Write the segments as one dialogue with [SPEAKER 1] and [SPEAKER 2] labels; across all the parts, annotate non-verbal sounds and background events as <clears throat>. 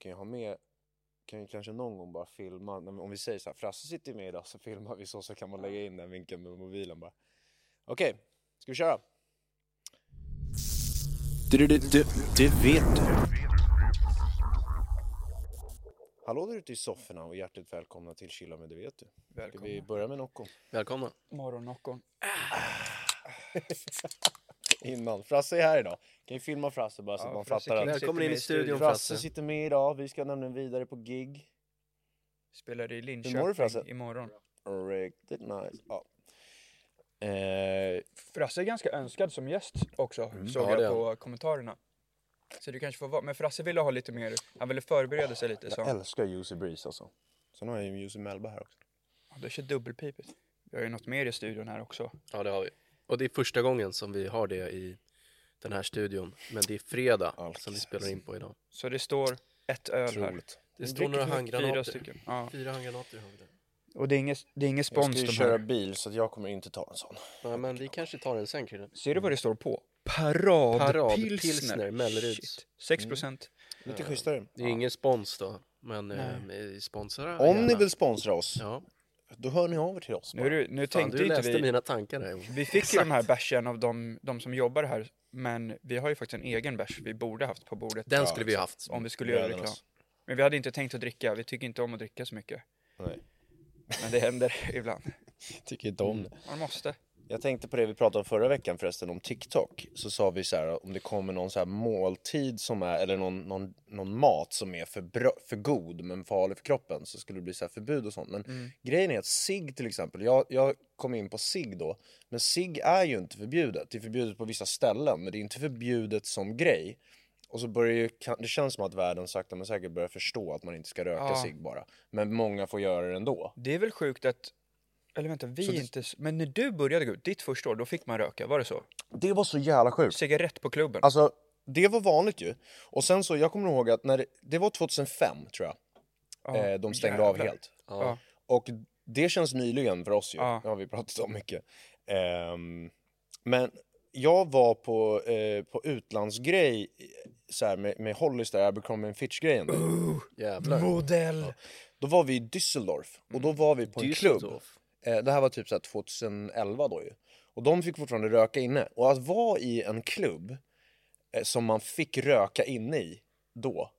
[SPEAKER 1] kan ju ha med, kan ju kanske någon gång bara filma, när, om vi säger så här, Frasse sitter ju med idag så filmar vi så, så kan man lägga in den vinkeln med mobilen bara. Okej, ska vi köra?
[SPEAKER 2] Du, du, du, du vet du.
[SPEAKER 1] Hallå där ute i sofforna och hjärtligt välkomna till Chilla med det vet du. Ska vi börja med Nocco? <laughs>
[SPEAKER 3] Välkomna.
[SPEAKER 4] Morgonnockon.
[SPEAKER 1] Innan, Frasse är här idag. Kan ju filma Frasse bara så att man fattar att
[SPEAKER 3] Välkommen in i studion
[SPEAKER 1] Frasse
[SPEAKER 3] Frasse.
[SPEAKER 1] sitter med idag, vi ska nämligen vidare på gig.
[SPEAKER 4] Spelar i
[SPEAKER 1] Hur mår du, Frasse?
[SPEAKER 4] Linköping imorgon.
[SPEAKER 1] Riktigt nice. Ja. Eh,
[SPEAKER 4] Frasse är ganska önskad som gäst också,
[SPEAKER 1] Mm.
[SPEAKER 4] såg
[SPEAKER 3] Ja, det är
[SPEAKER 4] jag på kommentarerna. Så du kanske får vara, men Frasse ville ha lite mer, han ville förbereda sig lite så.
[SPEAKER 1] jag
[SPEAKER 4] Ja,
[SPEAKER 1] älskar Juicy Breeze alltså. Sen har jag ju Juicy Melba här också.
[SPEAKER 4] det kör dubbelpipet. Vi har ju något mer i studion här också.
[SPEAKER 3] Ja, det har vi. Och det är första gången som vi har det i den här studion. Men det är fredag
[SPEAKER 4] Alltså,
[SPEAKER 1] Allt.
[SPEAKER 3] som vi spelar in på idag.
[SPEAKER 4] Så det står ett öl här.
[SPEAKER 1] Otroligt.
[SPEAKER 3] Det står
[SPEAKER 4] Dricker
[SPEAKER 3] några
[SPEAKER 4] som Fyra
[SPEAKER 3] handgranater.
[SPEAKER 4] stycken. Ja.
[SPEAKER 3] Fyra handgranater har vi där.
[SPEAKER 4] Och det är inget, det är inget
[SPEAKER 1] Jag ska
[SPEAKER 4] spons
[SPEAKER 1] ju
[SPEAKER 4] de
[SPEAKER 1] köra
[SPEAKER 4] här.
[SPEAKER 1] bil så att jag kommer inte ta en sån.
[SPEAKER 3] Ja, men vi kanske tar en sen killen.
[SPEAKER 4] Ser du vad det står på? Paradpilsner.
[SPEAKER 3] Paradpilsner, Melleruds.
[SPEAKER 4] Shit. 6 procent.
[SPEAKER 1] Lite
[SPEAKER 4] Eh,
[SPEAKER 1] schysstare.
[SPEAKER 3] Det är ingen spons då, men eh, sponsra
[SPEAKER 1] Om
[SPEAKER 3] gärna.
[SPEAKER 1] ni vill sponsra oss,
[SPEAKER 3] Ja,
[SPEAKER 1] då hör ni av er till oss.
[SPEAKER 4] Nu, är det- nu
[SPEAKER 3] fan
[SPEAKER 4] tänkte
[SPEAKER 3] du
[SPEAKER 4] ju inte
[SPEAKER 3] läste
[SPEAKER 4] vi...
[SPEAKER 3] mina tankar där.
[SPEAKER 4] Vi fick ju de här bärsen av de, de som jobbar här, men vi har ju faktiskt en egen bärs vi borde haft på bordet.
[SPEAKER 3] Den skulle vi ha haft.
[SPEAKER 4] Om vi skulle göra
[SPEAKER 1] Brödernas.
[SPEAKER 4] reklam. Men vi hade inte tänkt att dricka, vi tycker inte om att dricka så mycket.
[SPEAKER 1] Nej,
[SPEAKER 4] Men det händer <laughs> ibland.
[SPEAKER 1] tycker inte om det.
[SPEAKER 4] Man måste.
[SPEAKER 1] Jag tänkte på det vi pratade om förra veckan förresten, om TikTok. Så sa vi så här, om det kommer någon så här måltid som är, eller någon, någon, någon mat som är för, bra, för god men farlig för kroppen så skulle det bli så här förbud och sånt. Men grejen är att cigg till exempel, jag, jag kom in på cigg då, men cigg är ju inte förbjudet. Det är förbjudet på vissa ställen, men det är inte förbjudet som grej. Och så börjar ju, kan- det känns som att världen sakta men säkert börjar förstå att man inte ska röka
[SPEAKER 4] Ja.
[SPEAKER 1] cigg bara. Men många får göra det ändå.
[SPEAKER 4] Det är väl sjukt att, eller vänta, vi
[SPEAKER 1] Så det-
[SPEAKER 4] inte, s- men när du började gå ut, ditt första år, då fick man röka, var det så?
[SPEAKER 1] Det var så jävla sjukt.
[SPEAKER 4] Cigarett på klubben?
[SPEAKER 1] Alltså, det var vanligt ju. Och sen så, jag kommer ihåg att när det, det var 2005 tror jag,
[SPEAKER 4] Ja,
[SPEAKER 1] eh, de stängde av
[SPEAKER 4] jävlar.
[SPEAKER 1] helt.
[SPEAKER 3] Ja.
[SPEAKER 1] Och det känns nyligen för oss ju,
[SPEAKER 4] Ja.
[SPEAKER 1] det har vi pratat om mycket. Ehm, men jag var på, eh, på utlandsgrej eh, så här, med, med Hollister, Abercrombie Fitch-grejen.
[SPEAKER 3] Jävlar.
[SPEAKER 4] Modell!
[SPEAKER 1] Då var vi i Düsseldorf och då var vi på en klubb.
[SPEAKER 3] Mm. Düsseldorf.
[SPEAKER 1] Eh, Det här var typ så här 2011 då ju. Och de fick fortfarande röka inne. Och att vara i en klubb eh, som man fick röka inne i då,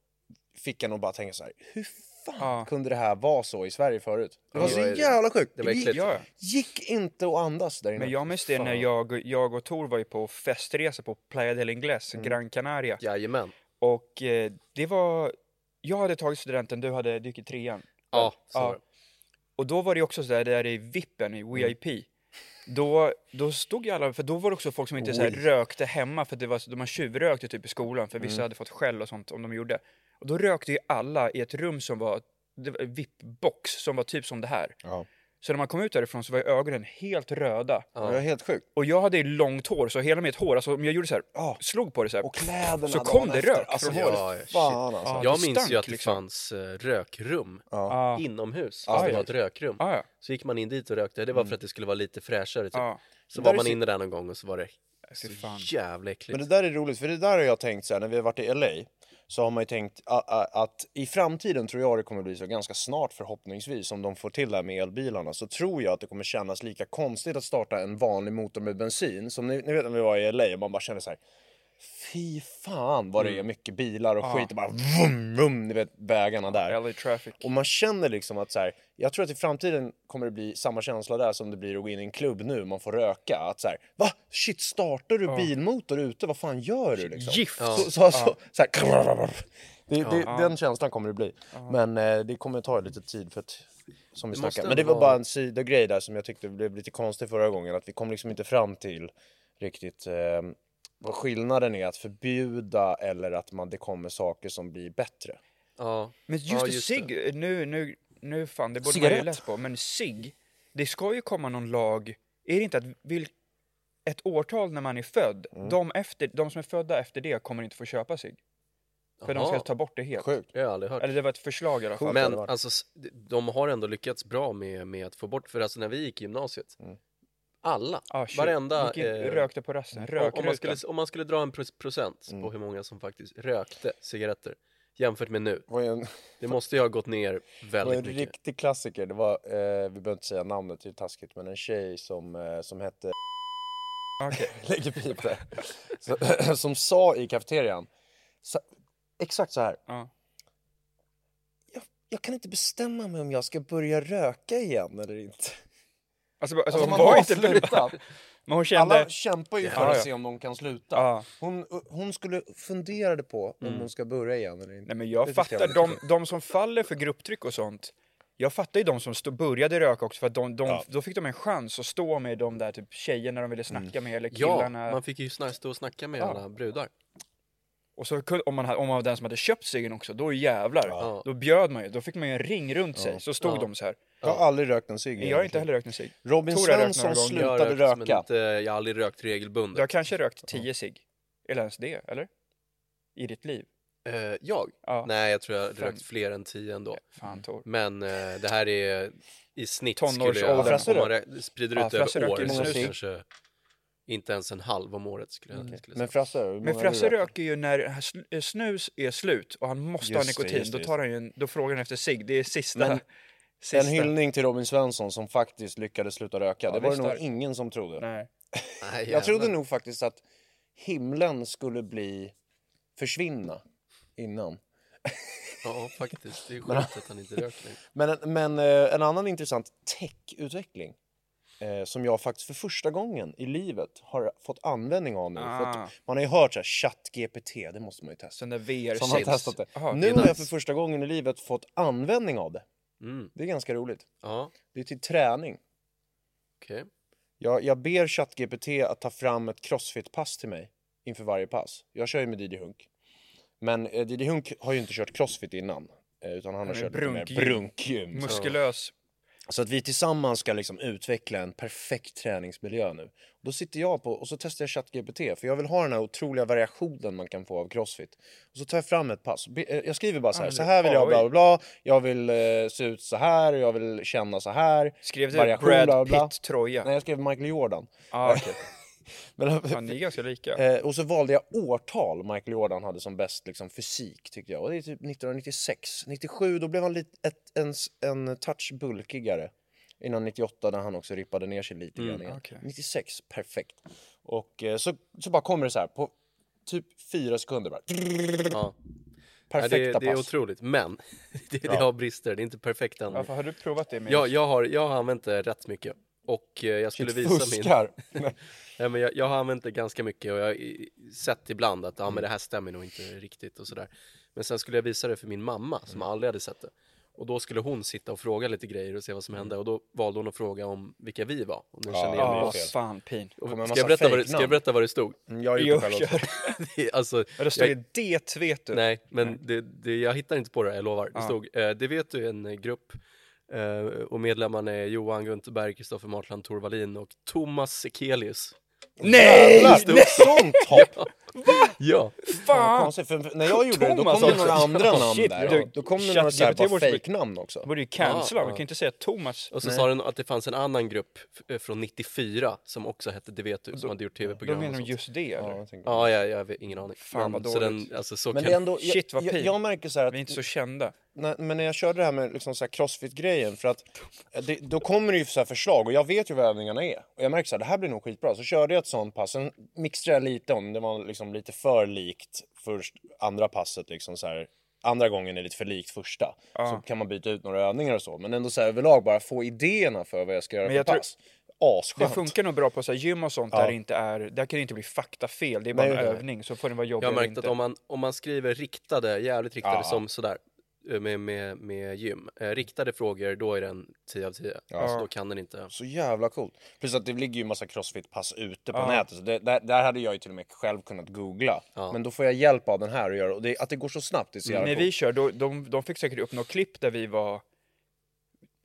[SPEAKER 1] fick jag nog bara tänka så här, hur fan
[SPEAKER 4] Ja.
[SPEAKER 1] kunde det här vara så i Sverige förut? Det var
[SPEAKER 3] Ah. det
[SPEAKER 1] så
[SPEAKER 3] var-
[SPEAKER 1] jävla sjukt.
[SPEAKER 3] det var
[SPEAKER 1] gick,
[SPEAKER 3] äckligt.
[SPEAKER 4] Ja,
[SPEAKER 1] gick inte att andas där inne.
[SPEAKER 4] men jag minns det när
[SPEAKER 1] Fan.
[SPEAKER 4] jag, jag och Tor var ju på festresa på Playa del Ingles,
[SPEAKER 1] Mm.
[SPEAKER 4] Gran Canaria.
[SPEAKER 3] Jajamän.
[SPEAKER 4] Och eh, det var... Jag hade tagit studenten, du hade dykt i trean.
[SPEAKER 3] Ja, så var
[SPEAKER 4] Ja.
[SPEAKER 3] det.
[SPEAKER 4] Och då var det också så där, där i vippen,
[SPEAKER 1] Mm.
[SPEAKER 4] i VIP. Då, då stod ju alla, för då var det också folk som inte så här, rökte hemma för att det var, så- de här tjuvrökte typ i skolan för vissa
[SPEAKER 1] Mm.
[SPEAKER 4] hade fått skäll och sånt om de gjorde. Och då rökte ju alla i ett rum som var, det var en VIP-box som var typ som det här.
[SPEAKER 1] Ja.
[SPEAKER 4] Så när man kom ut därifrån så var ju ögonen helt röda.
[SPEAKER 1] Det var helt sjukt.
[SPEAKER 4] Och jag hade ju långt hår så hela mitt hår, alltså om jag gjorde så här, slog på det så här.
[SPEAKER 1] Och kläderna
[SPEAKER 4] Så kom
[SPEAKER 1] dagen
[SPEAKER 4] det
[SPEAKER 1] efter.
[SPEAKER 4] rök
[SPEAKER 1] Alltså,
[SPEAKER 4] från
[SPEAKER 1] det var-
[SPEAKER 4] håret.
[SPEAKER 3] Ja, shit.
[SPEAKER 1] Fan alltså.
[SPEAKER 3] Jag
[SPEAKER 4] det
[SPEAKER 3] minns
[SPEAKER 4] stank
[SPEAKER 3] ju att det
[SPEAKER 4] liksom.
[SPEAKER 3] fanns eh, rökrum
[SPEAKER 4] Ja.
[SPEAKER 3] inomhus.
[SPEAKER 1] Ja,
[SPEAKER 3] Fast det
[SPEAKER 1] ja.
[SPEAKER 3] var ett rökrum.
[SPEAKER 4] Ja, ja.
[SPEAKER 3] Så gick man in dit och rökte. Det var för att det skulle vara lite fräschare. Typ.
[SPEAKER 4] Ja.
[SPEAKER 3] Så
[SPEAKER 1] Men
[SPEAKER 3] var
[SPEAKER 1] där är
[SPEAKER 3] man
[SPEAKER 1] så-
[SPEAKER 3] inne där någon gång och så var det
[SPEAKER 4] Fy fan.
[SPEAKER 3] jävla äckligt.
[SPEAKER 1] Men det där är roligt, för det där har jag tänkt så här, när vi har varit i LA så har man ju tänkt a- a- att i framtiden tror jag det kommer bli så ganska snart förhoppningsvis om de får till det här med elbilarna så tror jag att det kommer kännas lika konstigt att starta en vanlig motor med bensin som ni, ni vet när vi var i LA och man bara kände så här fy fan vad det är mycket bilar och skit och bara vum, vum, ni vet vägarna där.
[SPEAKER 4] LA traffic.
[SPEAKER 1] Och man känner liksom att så här, jag tror att i framtiden kommer det bli samma känsla där som det blir att gå in i en klubb nu, man får röka. Att så här, va? Shit, startar du bilmotor ute? Vad fan gör du liksom?
[SPEAKER 4] Gift.
[SPEAKER 1] Så, så, så, så här, det, det, Den känslan kommer det bli. Men eh, det kommer ta lite tid för att som vi
[SPEAKER 3] Det måste
[SPEAKER 1] snackade. Men det
[SPEAKER 3] ändå
[SPEAKER 1] var
[SPEAKER 3] vara-
[SPEAKER 1] bara en sidogrej där som jag tyckte blev lite konstig förra gången. Att vi kom liksom inte fram till riktigt eh, Vad skillnaden är att förbjuda eller att man, det kommer saker som blir bättre.
[SPEAKER 3] Ja.
[SPEAKER 4] Men just,
[SPEAKER 3] Ja,
[SPEAKER 4] det,
[SPEAKER 3] just
[SPEAKER 4] cigg, nu, nu, nu fan, det borde man
[SPEAKER 1] Cigarett.
[SPEAKER 4] ju läst på, men cigg, det ska ju komma någon lag, är det inte att vil, ett årtal när man är född,
[SPEAKER 3] Mm.
[SPEAKER 4] de, efter, de som är födda efter det kommer inte få köpa cigg. För de ska
[SPEAKER 3] Jaha.
[SPEAKER 4] ta bort det helt.
[SPEAKER 1] Sjukt.
[SPEAKER 3] Det har jag aldrig hört.
[SPEAKER 4] Eller det var ett förslag i alla fall.
[SPEAKER 3] Men alltså, s- de har ändå lyckats bra med, med att få bort, för alltså när vi gick i gymnasiet, alla,
[SPEAKER 4] Ah, shit.
[SPEAKER 3] varenda...
[SPEAKER 4] Gick in,
[SPEAKER 3] eh,
[SPEAKER 4] rökte på rasten,
[SPEAKER 3] om, om,
[SPEAKER 4] rökruta.
[SPEAKER 3] man skulle, om man skulle dra en pro- procent på hur många som faktiskt rökte cigaretter jämfört med nu,
[SPEAKER 1] Det var ju en,
[SPEAKER 3] det måste ju ha gått ner
[SPEAKER 1] det var
[SPEAKER 3] väldigt
[SPEAKER 1] en
[SPEAKER 3] mycket.
[SPEAKER 1] riktig klassiker. Det var, eh, vi behöver inte säga namnet, det är taskigt, men en tjej som, eh, som hette
[SPEAKER 4] Ah, Okej.
[SPEAKER 1] <laughs> lägger pip där. Så, <clears throat> som sa i kafeterian, så, exakt så här.
[SPEAKER 4] Ja.
[SPEAKER 1] Jag, jag kan inte bestämma mig om jag ska börja röka igen eller inte.
[SPEAKER 4] Alltså, bara-
[SPEAKER 1] Alltså,
[SPEAKER 4] alltså, hon
[SPEAKER 1] man
[SPEAKER 4] var
[SPEAKER 1] har
[SPEAKER 4] inte
[SPEAKER 1] slutat.
[SPEAKER 4] beredd. Men hon kände... Ah.
[SPEAKER 1] Alla kämpar ju för
[SPEAKER 4] Ja,
[SPEAKER 1] att
[SPEAKER 4] ja.
[SPEAKER 1] se om de kan sluta.
[SPEAKER 4] Ja.
[SPEAKER 1] Hon, hon skulle funderade på om hon ska börja igen eller inte.
[SPEAKER 4] Mm. Nej men jag
[SPEAKER 1] Det tyckte
[SPEAKER 4] fattar,
[SPEAKER 1] var
[SPEAKER 4] de, de som faller för grupptryck och sånt, jag fattar ju de som stå, började röka också för att de, de, då fick de en chans att stå med de där typ tjejerna de ville snacka med eller
[SPEAKER 3] Mm. Ja,
[SPEAKER 4] killarna.
[SPEAKER 3] man fick ju sna- stå och snacka med alla brudar.
[SPEAKER 4] Och så kunde, om man, hade- om man var den som hade köpt ciggen också, då jävlar.
[SPEAKER 3] Ja.
[SPEAKER 4] Då bjöd man ju, då fick man ju en ring runt sig, så stod
[SPEAKER 3] Ja.
[SPEAKER 4] de så här.
[SPEAKER 1] Jag har aldrig rökt en cigg.
[SPEAKER 4] Jag har inte heller rökt en cigg.
[SPEAKER 1] Robin
[SPEAKER 4] Tor har rökt
[SPEAKER 1] Svensson
[SPEAKER 4] några gånger.
[SPEAKER 3] Jag har
[SPEAKER 1] slutade
[SPEAKER 3] rökt, men
[SPEAKER 1] röka.
[SPEAKER 3] inte, jag har aldrig rökt regelbundet.
[SPEAKER 4] Du har kanske rökt 10 cigg, eller ens det, eller? I ditt liv?
[SPEAKER 3] Eh, jag?
[SPEAKER 4] Ja.
[SPEAKER 3] Nej, jag tror jag har
[SPEAKER 4] Fem.
[SPEAKER 3] rökt fler än tio ändå.
[SPEAKER 4] Fan Tor.
[SPEAKER 3] Men eh, det här är i snitt skulle
[SPEAKER 4] Tonårsåldern.
[SPEAKER 3] jag...
[SPEAKER 1] Frasse
[SPEAKER 3] Om man rä- sprider
[SPEAKER 4] Ja,
[SPEAKER 3] ut
[SPEAKER 4] Frasse
[SPEAKER 3] över
[SPEAKER 4] röker
[SPEAKER 3] år
[SPEAKER 4] ju
[SPEAKER 3] så
[SPEAKER 1] många
[SPEAKER 3] det
[SPEAKER 1] cigg.
[SPEAKER 3] kanske inte ens en halv om året skulle jag, skulle jag
[SPEAKER 1] Mm. Men
[SPEAKER 3] säga.
[SPEAKER 1] Frasse, hur många
[SPEAKER 4] Mm. Men
[SPEAKER 1] har
[SPEAKER 4] Frasse
[SPEAKER 1] du rökt?
[SPEAKER 4] röker ju när sn- eh, snus är slut och han måste ha
[SPEAKER 1] Just det,
[SPEAKER 4] nikotin.
[SPEAKER 1] just det,
[SPEAKER 4] då,
[SPEAKER 1] just
[SPEAKER 4] tar han ju en, då frågar han efter cigg. Det är sista.
[SPEAKER 1] Men
[SPEAKER 4] <laughs> sista.
[SPEAKER 1] En hyllning till Robin Svensson som faktiskt lyckades sluta röka. det
[SPEAKER 4] det
[SPEAKER 1] var
[SPEAKER 4] är
[SPEAKER 1] det nog
[SPEAKER 4] starkt.
[SPEAKER 1] ingen som trodde.
[SPEAKER 4] Nej.
[SPEAKER 3] Nej, jävlar.
[SPEAKER 1] Jag trodde nog faktiskt att himlen skulle bli försvinna innan.
[SPEAKER 3] Ja, faktiskt.
[SPEAKER 1] <laughs>
[SPEAKER 3] Det är sjukt att han inte röker längre.
[SPEAKER 1] Men, en- men eh, en annan intressant tech-utveckling eh, som jag faktiskt för första gången i livet har fått användning av nu. För
[SPEAKER 4] Ah.
[SPEAKER 1] att man har ju hört så här, ChatGPT, det måste man ju testa.
[SPEAKER 4] Sen där VR
[SPEAKER 1] Som har
[SPEAKER 4] shit.
[SPEAKER 1] testat det.
[SPEAKER 4] Aha,
[SPEAKER 1] nu
[SPEAKER 4] det är
[SPEAKER 1] har jag
[SPEAKER 4] nice.
[SPEAKER 1] för första gången i livet fått användning av det.
[SPEAKER 3] Mm,
[SPEAKER 1] Det är ganska roligt.
[SPEAKER 3] ja,
[SPEAKER 1] Det är till träning.
[SPEAKER 3] okej.
[SPEAKER 1] Jag, jag ber ChatGPT att ta fram ett crossfit-pass till mig inför varje pass. Jag kör ju med Didi Hunk. Men eh, Didi Hunk har ju inte kört crossfit innan. eh, Utan han har
[SPEAKER 4] är
[SPEAKER 1] kört lite mer
[SPEAKER 4] brunkgym.
[SPEAKER 1] brunkgym. Så-
[SPEAKER 4] Muskulös.
[SPEAKER 1] Så att vi tillsammans ska liksom utveckla en perfekt träningsmiljö nu. Då sitter jag på och så testar jag ChatGPT för jag vill ha den här otroliga variationen man kan få av Crossfit. Och så tar jag fram ett pass. Be- eh, Jag skriver bara så här,
[SPEAKER 4] men
[SPEAKER 1] så
[SPEAKER 4] det-
[SPEAKER 1] här vill jag bla
[SPEAKER 4] Ah, oj.
[SPEAKER 1] bla bla. Jag vill eh, se ut så här och jag vill känna så här.
[SPEAKER 4] Skrev du
[SPEAKER 1] Variation, bla,
[SPEAKER 4] Brad
[SPEAKER 1] bla, bla.
[SPEAKER 4] Pitt-tröja?
[SPEAKER 1] Nej, jag skrev Michael Jordan.
[SPEAKER 4] Ah, okej.
[SPEAKER 1] Men,
[SPEAKER 4] Fan, ni är ganska lika.
[SPEAKER 1] <laughs> eh, och så valde jag årtal Michael Jordan hade som bäst liksom, fysik tyckte jag. Och det är typ 1996. 97 då blev han lite, ett, en, s- en touch bulkigare. Innan 98 när han också rippade ner sig lite grann igen.
[SPEAKER 4] okej.
[SPEAKER 1] 96, perfekt. Och eh, så, så bara kommer det så här på typ fyra sekunder bara.
[SPEAKER 3] Ja. Nej,
[SPEAKER 1] Perfekta
[SPEAKER 3] det, det är
[SPEAKER 1] pass.
[SPEAKER 3] otroligt, men <laughs> det, det har brister. Det är inte perfekt än.
[SPEAKER 4] Varför har du provat det med
[SPEAKER 3] Jag, jag, har, jag har använt det rätt mycket. Och eh, jag skulle visa min...
[SPEAKER 1] Fuskar!
[SPEAKER 3] Nej, men jag, jag har använt det ganska mycket och jag har i- sett ibland att ja, men det här stämmer nog inte riktigt och sådär. Men sen skulle jag visa det för min mamma som aldrig hade sett det. Och då skulle hon sitta och fråga lite grejer och se vad som hände och då valde hon att fråga om vilka vi var. Och nu kände jag
[SPEAKER 1] det är
[SPEAKER 3] mig
[SPEAKER 4] Ja,
[SPEAKER 3] oss.
[SPEAKER 1] fel.
[SPEAKER 4] fan pin.
[SPEAKER 3] Och
[SPEAKER 1] Kommer en
[SPEAKER 3] Ska jag,
[SPEAKER 1] massa Mm.
[SPEAKER 3] berätta vad det, ska
[SPEAKER 1] fejknamn.
[SPEAKER 3] jag berätta vad det stod?
[SPEAKER 1] Jag har gjort det
[SPEAKER 4] <laughs> Jo,
[SPEAKER 1] själv också.
[SPEAKER 3] <laughs> Det är alltså,
[SPEAKER 4] Men det står
[SPEAKER 3] jag,
[SPEAKER 4] ju det vet du.
[SPEAKER 3] nej, men det, det, jag hittar inte på det, jag lovar. Det stod, eh, det vet du, en eh, grupp eh, och medlemmarna är Johan Guntherberg, Kristoffer Martland, Tor Wallin och Thomas Sekelius.
[SPEAKER 4] Nej!
[SPEAKER 1] Jävlar, Sånt hopp!
[SPEAKER 3] Ja,
[SPEAKER 1] Vad
[SPEAKER 4] Fan!
[SPEAKER 1] konstigt, för för när jag gjorde det då kom
[SPEAKER 4] Thomas
[SPEAKER 1] det
[SPEAKER 4] också.
[SPEAKER 1] några andra
[SPEAKER 4] Ja,
[SPEAKER 1] namn
[SPEAKER 4] shit,
[SPEAKER 1] där.
[SPEAKER 4] du-
[SPEAKER 1] Då kom det några så här
[SPEAKER 4] ChatGPT
[SPEAKER 1] bara
[SPEAKER 4] borde-
[SPEAKER 1] fejknamn också.
[SPEAKER 4] borde ju cancella,
[SPEAKER 3] Ja, ja.
[SPEAKER 4] man kan ju inte säga Thomas.
[SPEAKER 3] Och så sa den att det fanns en annan grupp eh, från 94 som också hette Det vet du, som hade gjort
[SPEAKER 4] Då
[SPEAKER 3] tv-program. och
[SPEAKER 4] menar de
[SPEAKER 3] sånt.
[SPEAKER 4] just det eller?
[SPEAKER 1] Ja, jag tänker-
[SPEAKER 3] Ja, jag, jag har ingen aning.
[SPEAKER 4] Fan,
[SPEAKER 3] Men
[SPEAKER 4] vad
[SPEAKER 3] så
[SPEAKER 4] dåligt.
[SPEAKER 3] den, alltså, så
[SPEAKER 1] Men
[SPEAKER 3] kan...
[SPEAKER 1] det är ändå,
[SPEAKER 4] Shit, vad
[SPEAKER 1] jag, jag,
[SPEAKER 4] pin.
[SPEAKER 1] jag märker så här att,
[SPEAKER 4] Vi är inte så kända.
[SPEAKER 1] när, men när jag körde det här med liksom så här crossfit-grejen, för att eh, det, då kommer det ju så här förslag och jag vet ju vad övningarna är. Och jag märker så här, det här blir nog skitbra. Så körde jag ett sånt pass, sen mixade jag lite om, det var liksom lite för likt först, andra passet liksom så här. Andra gången är lite för likt första, så kan man byta ut några övningar och så. Men ändå så här överlag bara få idéerna för vad jag ska göra
[SPEAKER 4] Men jag
[SPEAKER 1] för
[SPEAKER 4] tror-
[SPEAKER 1] pass. Asskönt!
[SPEAKER 4] Det funkar nog bra på så här gym och sånt där det inte är, där kan det inte bli faktafel, det är bara
[SPEAKER 1] Nej,
[SPEAKER 4] en
[SPEAKER 1] det-
[SPEAKER 4] övning så får den vara jobbig
[SPEAKER 3] Jag har
[SPEAKER 4] eller
[SPEAKER 3] märkt
[SPEAKER 4] inte.
[SPEAKER 3] att om man, om man skriver riktade, jävligt riktade som sådär, eh, med, med, med gym. Eh, riktade frågor, då är den 10 av 10. Alltså, då kan den inte...
[SPEAKER 1] Så jävla coolt. Plus att det ligger ju massa crossfit-pass ute på
[SPEAKER 4] Ja.
[SPEAKER 1] nätet. Så det, där, där hade jag ju till och med själv kunnat googla.
[SPEAKER 3] Ja.
[SPEAKER 1] Men då får jag hjälp av den här och göra och det, att det går så snabbt det är så jävla
[SPEAKER 4] När
[SPEAKER 1] coolt.
[SPEAKER 4] vi kör, då, de, de fick säkert upp något klipp där vi var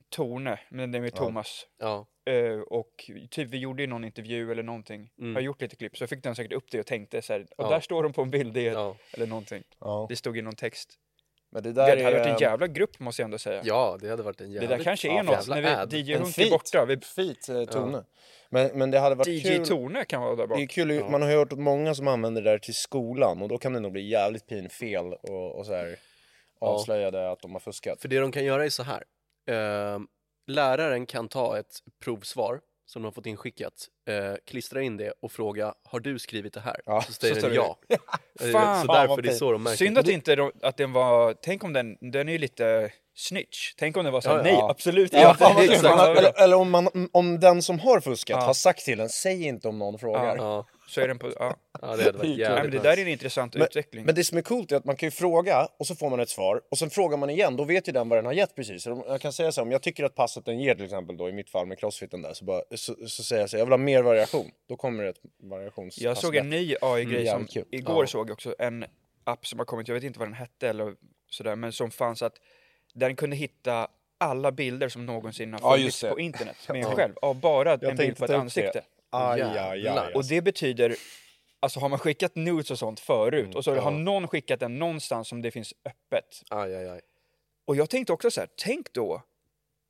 [SPEAKER 4] Torne, men det är med Thomas.
[SPEAKER 3] Ja,
[SPEAKER 4] Eh, och typ vi gjorde ju någon intervju eller någonting. Jag har gjort lite klipp, så fick den säkert upp det och tänkte så här, och
[SPEAKER 3] Mm. Ja.
[SPEAKER 4] där står de på en bild, det är,
[SPEAKER 3] Ja.
[SPEAKER 4] eller någonting.
[SPEAKER 1] Ja.
[SPEAKER 4] Det stod i någon text.
[SPEAKER 1] Men det
[SPEAKER 4] Det
[SPEAKER 1] där
[SPEAKER 4] hade varit en
[SPEAKER 1] är eh,
[SPEAKER 4] jävla grupp måste jag ändå säga.
[SPEAKER 3] ja, det hade varit en
[SPEAKER 4] det
[SPEAKER 3] jävligt...
[SPEAKER 4] där kanske är
[SPEAKER 3] ja,
[SPEAKER 4] något,
[SPEAKER 3] jävla
[SPEAKER 4] när
[SPEAKER 3] ad.
[SPEAKER 4] vi, DJ
[SPEAKER 1] en
[SPEAKER 4] Hunk är borta, vi,
[SPEAKER 1] Fit eh, tone. Men, men det hade varit
[SPEAKER 4] DJ
[SPEAKER 1] kul.
[SPEAKER 4] Torne kan vara där bak.
[SPEAKER 1] Det är kul, ju- man har ju hört att många som använder det där till skolan och då kan det nog bli jävligt pinfel och, och så här avslöjade att de har fuskat.
[SPEAKER 3] För det de kan göra är så här. Ehm, läraren kan ta ett provsvar som de har fått inskickat, eh, klistra in det och fråga har du skrivit det här?
[SPEAKER 1] Ja,
[SPEAKER 3] så säger
[SPEAKER 1] så
[SPEAKER 3] den
[SPEAKER 1] ställer
[SPEAKER 3] ja. <laughs> Eh,
[SPEAKER 4] Fan,
[SPEAKER 3] så
[SPEAKER 1] vad
[SPEAKER 3] därför det är så de märker.
[SPEAKER 4] Synd att inte de- att den var, tänk om den, den är ju lite snitch. Tänk om den var såhär, nej absolut
[SPEAKER 1] Ja,
[SPEAKER 4] inte.
[SPEAKER 1] fan vad kul.
[SPEAKER 4] <laughs> Exakt.
[SPEAKER 1] Man- eller eller om, man, om den som har fuskat har sagt till en, säg inte om någon frågar.
[SPEAKER 3] Ja,
[SPEAKER 4] Så är den på, ja.
[SPEAKER 3] ja, det hade varit
[SPEAKER 4] Nej,
[SPEAKER 3] jävligt
[SPEAKER 4] men det
[SPEAKER 3] nice.
[SPEAKER 4] där är en intressant utveckling.
[SPEAKER 1] Men det som är coolt är att man kan ju fråga och så får man ett svar och sen frågar man igen, då vet ju den vad den har gett precis. Så om- Jag kan säga så här, om jag tycker att passet den ger till exempel då i mitt fall med crossfiten där så, bara, så, så säger jag så här, jag vill ha mer variation. Då kommer det ett variationspass.
[SPEAKER 4] Jag såg en ny AI-grej
[SPEAKER 1] Mm, jävligt
[SPEAKER 4] som
[SPEAKER 1] kul.
[SPEAKER 4] igår
[SPEAKER 3] Ja.
[SPEAKER 4] såg jag också, en app som har kommit, jag vet inte vad den hette eller sådär, men som fanns att den kunde hitta alla bilder som någonsin har
[SPEAKER 1] Ja,
[SPEAKER 4] funnits
[SPEAKER 1] just det.
[SPEAKER 4] på internet med en själv, av bara en bild på ett ansikte.
[SPEAKER 1] Aj, aj, aj,
[SPEAKER 3] Jävlar.
[SPEAKER 1] aj.
[SPEAKER 4] Och det betyder, alltså har man skickat nudes och sånt förut
[SPEAKER 1] Mm,
[SPEAKER 4] och så har någon skickat den någonstans som det finns öppet,
[SPEAKER 3] Aj, aj, aj.
[SPEAKER 4] Och jag tänkte också så här, tänk då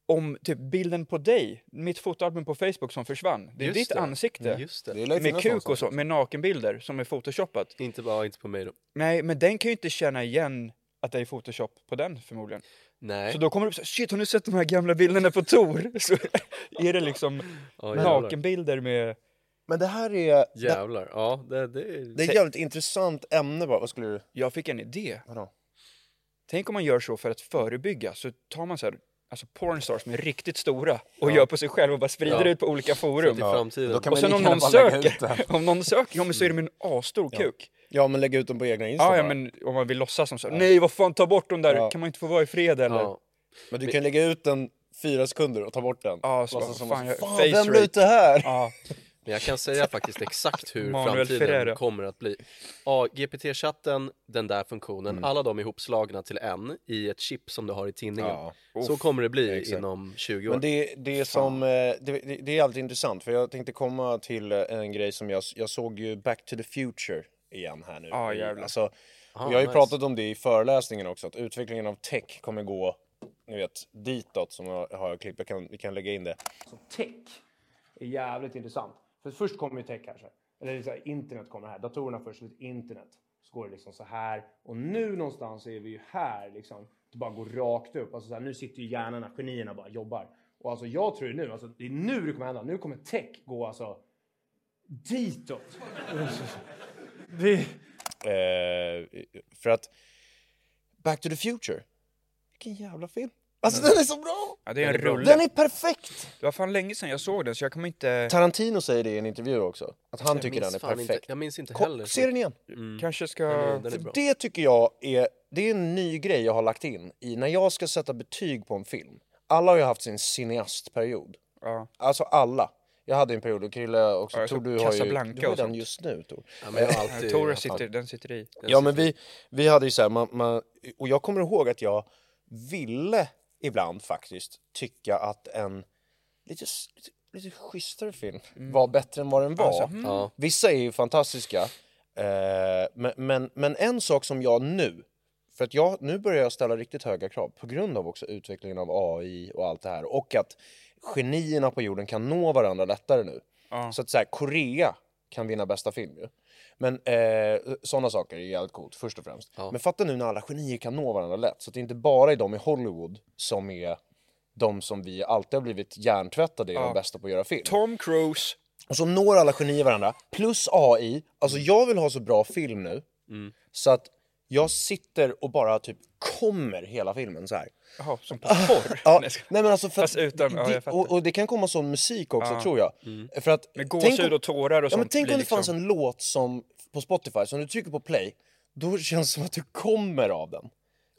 [SPEAKER 4] om typ bilden på dig, mitt fotoalbum på Facebook som försvann, det är
[SPEAKER 3] Just
[SPEAKER 4] ditt
[SPEAKER 3] det. Mm,
[SPEAKER 4] ansikte.
[SPEAKER 3] Just det.
[SPEAKER 1] Det lär ju
[SPEAKER 4] Med
[SPEAKER 1] finnas
[SPEAKER 4] kuk
[SPEAKER 1] någonstans.
[SPEAKER 4] och så, med nakenbilder som är photoshoppat.
[SPEAKER 3] Inte bara, inte på mig då.
[SPEAKER 4] Nej, men den kan ju inte känna igen att det är photoshop på den förmodligen.
[SPEAKER 3] Nej.
[SPEAKER 4] Så då kommer du så här, shit har ni sett de här gamla bilderna på Tor? <laughs> Så är det liksom
[SPEAKER 3] Ja, jävlar.
[SPEAKER 4] nakenbilder med...
[SPEAKER 1] Men det här är... Det,
[SPEAKER 3] Jävlar. Ja, det, det är...
[SPEAKER 1] det är ett jävligt intressant ämne bara. Vad skulle du...
[SPEAKER 4] Jag fick en idé.
[SPEAKER 1] Vadå?
[SPEAKER 4] Tänk om man gör så för att förebygga, så tar man så här, alltså pornstars som är riktigt stora och gör på sig själv och bara sprider
[SPEAKER 3] Ja.
[SPEAKER 4] ut på olika
[SPEAKER 3] i
[SPEAKER 4] forum.
[SPEAKER 3] framtiden.
[SPEAKER 1] Då kan
[SPEAKER 4] Och
[SPEAKER 1] man
[SPEAKER 4] sen
[SPEAKER 1] lika
[SPEAKER 4] om
[SPEAKER 1] gärna
[SPEAKER 4] någon,
[SPEAKER 1] bara lägga ut
[SPEAKER 4] söker,
[SPEAKER 1] det.
[SPEAKER 4] om någon söker, ja men så är det med en asstor kuk. Ah,
[SPEAKER 1] Ja, men lägga ut dem på egna Insta
[SPEAKER 4] Ja, ja
[SPEAKER 1] bara.
[SPEAKER 4] men om man vill låtsas som så, nej vad fan ta bort dem där,
[SPEAKER 1] Ja.
[SPEAKER 4] kan man inte få vara i fred eller?
[SPEAKER 3] Ja.
[SPEAKER 4] Ja,
[SPEAKER 1] Men du kan lägga ut den fyra sekunder och ta bort den.
[SPEAKER 4] Ja, så bara,
[SPEAKER 1] Låtsas
[SPEAKER 4] fan, jag-
[SPEAKER 1] fan
[SPEAKER 4] face
[SPEAKER 1] vem la
[SPEAKER 4] rape."
[SPEAKER 1] ut det här?
[SPEAKER 3] Men jag kan säga faktiskt exakt hur
[SPEAKER 4] Manuel
[SPEAKER 3] framtiden
[SPEAKER 4] Ferreira.
[SPEAKER 3] kommer att bli. Ja, GPT-chatten, den där funktionen,
[SPEAKER 1] Mm.
[SPEAKER 3] alla de är ihopslagna till en i ett chip som du har i tinningen.
[SPEAKER 1] Ja.
[SPEAKER 3] Så kommer det bli
[SPEAKER 1] exakt.
[SPEAKER 3] inom 20 år.
[SPEAKER 1] Men det, det, är som, eh, det, det, det är alltid intressant, för jag tänkte komma till eh, en grej som jag, jag såg ju Back to the Future igen här nu.
[SPEAKER 4] Ah, jävlar.
[SPEAKER 1] alltså,
[SPEAKER 3] Ah,
[SPEAKER 1] jag har ju
[SPEAKER 3] nice.
[SPEAKER 1] pratat om det i föreläsningen också, att utvecklingen av tech kommer gå ni vet, ditåt som jag har klippt, jag kan, vi kan lägga in det.
[SPEAKER 5] Så tech är jävligt intressant. För först kommer ju tech kanske. Eller så här, internet kommer här. Datorerna först, så internet. Så går det liksom så här. Och nu någonstans är vi ju här liksom. Det bara går rakt upp. Alltså så här, nu sitter ju hjärnorna, genierna bara jobbar. Och alltså jag tror ju nu, alltså det är nu det kommer hända. Nu kommer tech gå alltså ditåt. Det,
[SPEAKER 1] Eh, för att Back to the Future, vilken jävla film! Alltså
[SPEAKER 3] Mm.
[SPEAKER 1] den är så bra!
[SPEAKER 4] det är en rulle.
[SPEAKER 1] Den är perfekt!
[SPEAKER 4] Det var fan länge sedan jag såg den så jag kommer inte...
[SPEAKER 1] Tarantino säger det i en intervju också, att han tycker
[SPEAKER 3] minns
[SPEAKER 1] den är
[SPEAKER 3] fan
[SPEAKER 1] perfekt.
[SPEAKER 3] Inte, jag minns inte heller.
[SPEAKER 1] Kom, se den igen!
[SPEAKER 4] Kanske ska...
[SPEAKER 3] Den är bra.
[SPEAKER 1] Det tycker jag är, det är en ny grej jag har lagt in i när jag ska sätta betyg på en film. Alla har ju haft sin cineastperiod.
[SPEAKER 4] Ja.
[SPEAKER 1] Alltså alla. Jag hade en period, och Krille också,
[SPEAKER 4] Ja,
[SPEAKER 1] ja,
[SPEAKER 4] jag
[SPEAKER 1] Tor
[SPEAKER 4] såg
[SPEAKER 1] du har ju,
[SPEAKER 4] Casablanca
[SPEAKER 1] du har
[SPEAKER 4] och
[SPEAKER 1] den
[SPEAKER 4] sånt.
[SPEAKER 1] just nu Tor.
[SPEAKER 3] Ja, men jag har alltid...
[SPEAKER 4] Tora sitter, den sitter i.
[SPEAKER 1] Ja men vi, vi hade ju så här, man, man, och jag kommer ihåg att jag ville ibland faktiskt tycka att en lite, s- lite, lite schysstare film
[SPEAKER 4] Mm.
[SPEAKER 1] var bättre än vad den var.
[SPEAKER 3] Ja.
[SPEAKER 1] Vissa är ju fantastiska, eh, men, men, men en sak som jag nu, för att jag, nu börjar jag ställa riktigt höga krav på grund av också utvecklingen av AI och allt det här och att genierna på jorden kan nå varandra lättare nu. Så att så här, Korea kan vinna bästa film ju. Men eh, sådana saker är jävligt coolt först och främst. Men fatta nu när alla genier kan nå varandra lätt så att det inte bara är de i Hollywood som är de som vi alltid har blivit hjärntvättade är de bästa på att göra film.
[SPEAKER 4] Tom Cruise.
[SPEAKER 1] Och så når alla genier varandra, plus AI. Alltså
[SPEAKER 4] Mm.
[SPEAKER 1] jag vill ha så bra film nu, så att jag sitter och bara typ kommer hela filmen så här.
[SPEAKER 4] Jaha, som på porr.
[SPEAKER 1] Ah, <laughs> Ja, nej men alltså för
[SPEAKER 4] Fast utan- ja, jag
[SPEAKER 1] det,
[SPEAKER 4] fattar. Mm.
[SPEAKER 1] och, och det kan komma sån musik också tror jag. För att, tänk
[SPEAKER 4] Med gåshud
[SPEAKER 1] om-
[SPEAKER 4] och tårar och
[SPEAKER 1] Ja, men
[SPEAKER 4] sånt
[SPEAKER 1] tänk
[SPEAKER 4] blir
[SPEAKER 1] om det fanns
[SPEAKER 4] liksom-
[SPEAKER 1] en låt som på Spotify, som du trycker på play, då känns det som att du kommer av den.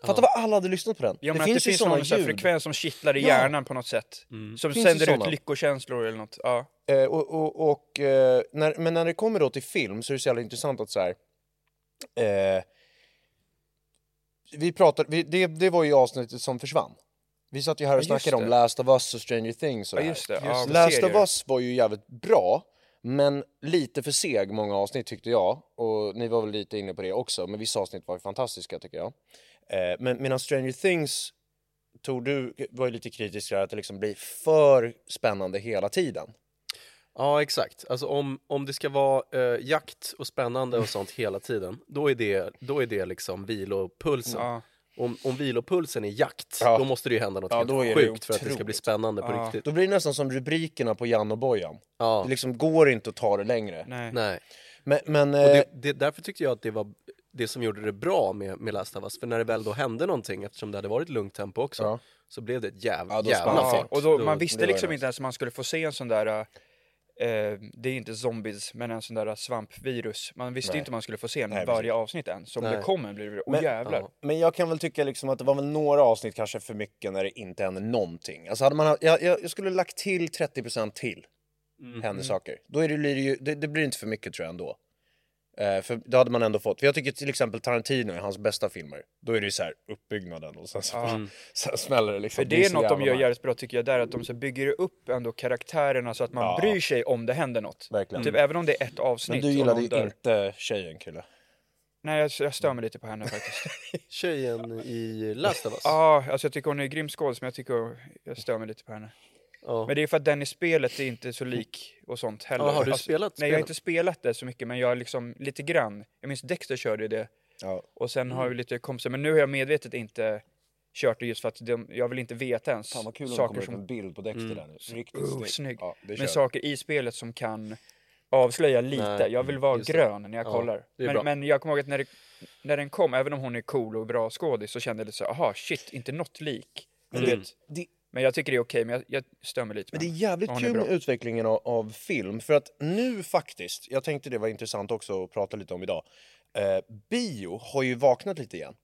[SPEAKER 1] Fatta vad alla hade lyssnat på den.
[SPEAKER 4] Ja, men
[SPEAKER 1] det
[SPEAKER 4] att
[SPEAKER 1] finns
[SPEAKER 4] det
[SPEAKER 1] ju
[SPEAKER 4] finns någon
[SPEAKER 1] såna
[SPEAKER 4] sån här
[SPEAKER 1] ljud.
[SPEAKER 4] frekvens som kittlar i
[SPEAKER 1] Ja. Mm.
[SPEAKER 4] hjärnan på något sätt. Som
[SPEAKER 1] Finns
[SPEAKER 4] sänder
[SPEAKER 1] det
[SPEAKER 4] ut
[SPEAKER 1] såna?
[SPEAKER 4] lyckokänslor eller något. Ja.
[SPEAKER 1] Eh, och, och, och, eh, när, men när det kommer då till film så är det så jävla intressant att så här... Eh, vi pratade, vi, det, det var ju avsnittet som försvann. Vi satt ju här och
[SPEAKER 4] just
[SPEAKER 1] snackade
[SPEAKER 4] det.
[SPEAKER 1] om Last of Us och Stranger Things och
[SPEAKER 4] Ja,
[SPEAKER 1] det här.
[SPEAKER 4] just det. Ja,
[SPEAKER 1] Last
[SPEAKER 4] serier.
[SPEAKER 1] of Us var ju jävligt bra, men lite för seg många avsnitt tyckte jag. Och ni var väl lite inne på det också, men vissa avsnitt var ju fantastiska tycker jag. Eh, men medan Stranger Things tog du, var ju lite kritisk där att det liksom blir för spännande hela tiden.
[SPEAKER 3] Ja, exakt. Alltså om, om det ska vara eh, jakt och spännande och sånt hela tiden, då är det, då är det liksom vilopulsen.
[SPEAKER 4] Ja.
[SPEAKER 3] Om, om vilopulsen är jakt,
[SPEAKER 1] Ja.
[SPEAKER 3] då måste det ju hända något
[SPEAKER 1] Ja, då är
[SPEAKER 3] helt
[SPEAKER 1] det ju
[SPEAKER 3] sjukt för att det ska bli
[SPEAKER 1] otroligt.
[SPEAKER 3] spännande på
[SPEAKER 4] Ja.
[SPEAKER 3] riktigt.
[SPEAKER 1] Då blir det nästan som rubrikerna på Jan och Bojan.
[SPEAKER 3] Ja,
[SPEAKER 1] Det liksom går inte att ta det längre.
[SPEAKER 4] Nej.
[SPEAKER 3] nej.
[SPEAKER 1] Men, men
[SPEAKER 3] Och
[SPEAKER 1] eh,
[SPEAKER 3] det, det, därför tyckte jag att det var det som gjorde det bra med, med Last of Us, för när det väl då hände någonting, eftersom det hade varit lugnt tempo också,
[SPEAKER 1] Ja.
[SPEAKER 3] så blev det ett jäv,
[SPEAKER 1] Ja, då
[SPEAKER 3] jävla
[SPEAKER 1] spann-
[SPEAKER 4] Ja,
[SPEAKER 3] fart.
[SPEAKER 4] och då, man visste
[SPEAKER 1] det var
[SPEAKER 4] liksom
[SPEAKER 1] det.
[SPEAKER 4] inte ens om man skulle få se en sån där, eh, det är inte zombies, men en sån där svampvirus. Man visste
[SPEAKER 1] Nej.
[SPEAKER 4] inte om man skulle få se en
[SPEAKER 1] Nej,
[SPEAKER 4] varje
[SPEAKER 1] precis.
[SPEAKER 4] avsnitt än. Så om
[SPEAKER 3] Nej.
[SPEAKER 4] det kommer blir det, åh
[SPEAKER 1] Men-
[SPEAKER 4] jävlar.
[SPEAKER 3] ja.
[SPEAKER 1] Men jag kan väl tycka liksom att det var väl några avsnitt kanske för mycket när det inte hände någonting. Alltså hade man, ha- jag, jag, jag skulle lagt till 30% till
[SPEAKER 4] Mm.
[SPEAKER 1] händer saker. Då är det, blir det, ju, det, det blir inte för mycket tror jag ändå. Eh, för då hade man ändå fått, för jag tycker till exempel Tarantino är hans bästa filmer. Då är det ju så här uppbyggnaden och sen, så, <laughs> sen smäller det liksom.
[SPEAKER 4] För det är
[SPEAKER 1] så
[SPEAKER 4] något de
[SPEAKER 1] jävla
[SPEAKER 4] gör
[SPEAKER 1] nice.
[SPEAKER 4] jävligt bra tycker jag, där att de så bygger upp ändå karaktärerna så att man
[SPEAKER 1] Ja.
[SPEAKER 4] bryr sig om det händer något.
[SPEAKER 1] Verkligen.
[SPEAKER 4] Typ även om det är ett
[SPEAKER 1] Men
[SPEAKER 4] avsnitt.
[SPEAKER 1] du
[SPEAKER 4] och
[SPEAKER 1] gillade
[SPEAKER 4] någon
[SPEAKER 1] ju
[SPEAKER 4] dör.
[SPEAKER 1] inte tjejen kille.
[SPEAKER 4] Nej, jag, jag stör mig lite
[SPEAKER 1] <laughs>
[SPEAKER 4] på henne faktiskt.
[SPEAKER 3] Tjejen i Last of Us.
[SPEAKER 4] Ja, alltså jag tycker hon är grym skådis, men jag tycker jag stör mig lite på henne.
[SPEAKER 3] Ja.
[SPEAKER 4] Men det är för att den i spelet är inte så lik och sånt heller.
[SPEAKER 3] Ja, har du
[SPEAKER 4] Alltså,
[SPEAKER 3] spelat
[SPEAKER 4] Nej, jag har
[SPEAKER 3] spelet?
[SPEAKER 4] inte spelat det så mycket, men jag har liksom lite grann. Jag minns Dexter körde ju det
[SPEAKER 1] Ja.
[SPEAKER 4] och sen har jag lite kompisar, men nu har jag medvetet inte kört det just för att de, jag vill inte veta ens
[SPEAKER 1] Fan vad kul om det
[SPEAKER 4] saker
[SPEAKER 1] kommer ut
[SPEAKER 4] som
[SPEAKER 1] en bild på Dexter där nu. Riktigt
[SPEAKER 4] Oh, snygg.
[SPEAKER 1] Ja, det
[SPEAKER 4] men
[SPEAKER 1] kör.
[SPEAKER 4] saker i spelet som kan avslöja lite.
[SPEAKER 3] Nej,
[SPEAKER 4] jag vill vara
[SPEAKER 3] just det.
[SPEAKER 4] grön när jag
[SPEAKER 3] Ja,
[SPEAKER 4] kollar.
[SPEAKER 3] det är bra.
[SPEAKER 4] men, men jag kommer ihåg att när, det, när den kom, även om hon är cool och bra skådis, så kände jag lite så här, aha shit, inte något lik.
[SPEAKER 1] Mm. Det,
[SPEAKER 4] Men jag tycker det är okej, men jag, jag stör mig lite
[SPEAKER 1] Men
[SPEAKER 4] med
[SPEAKER 1] det är
[SPEAKER 4] henne.
[SPEAKER 1] jävligt
[SPEAKER 4] Ja, det är
[SPEAKER 1] kul med
[SPEAKER 4] bra.
[SPEAKER 1] utvecklingen av, av film. För att nu faktiskt, jag tänkte det var intressant också att prata lite om idag. Eh, bio har ju vaknat lite igen.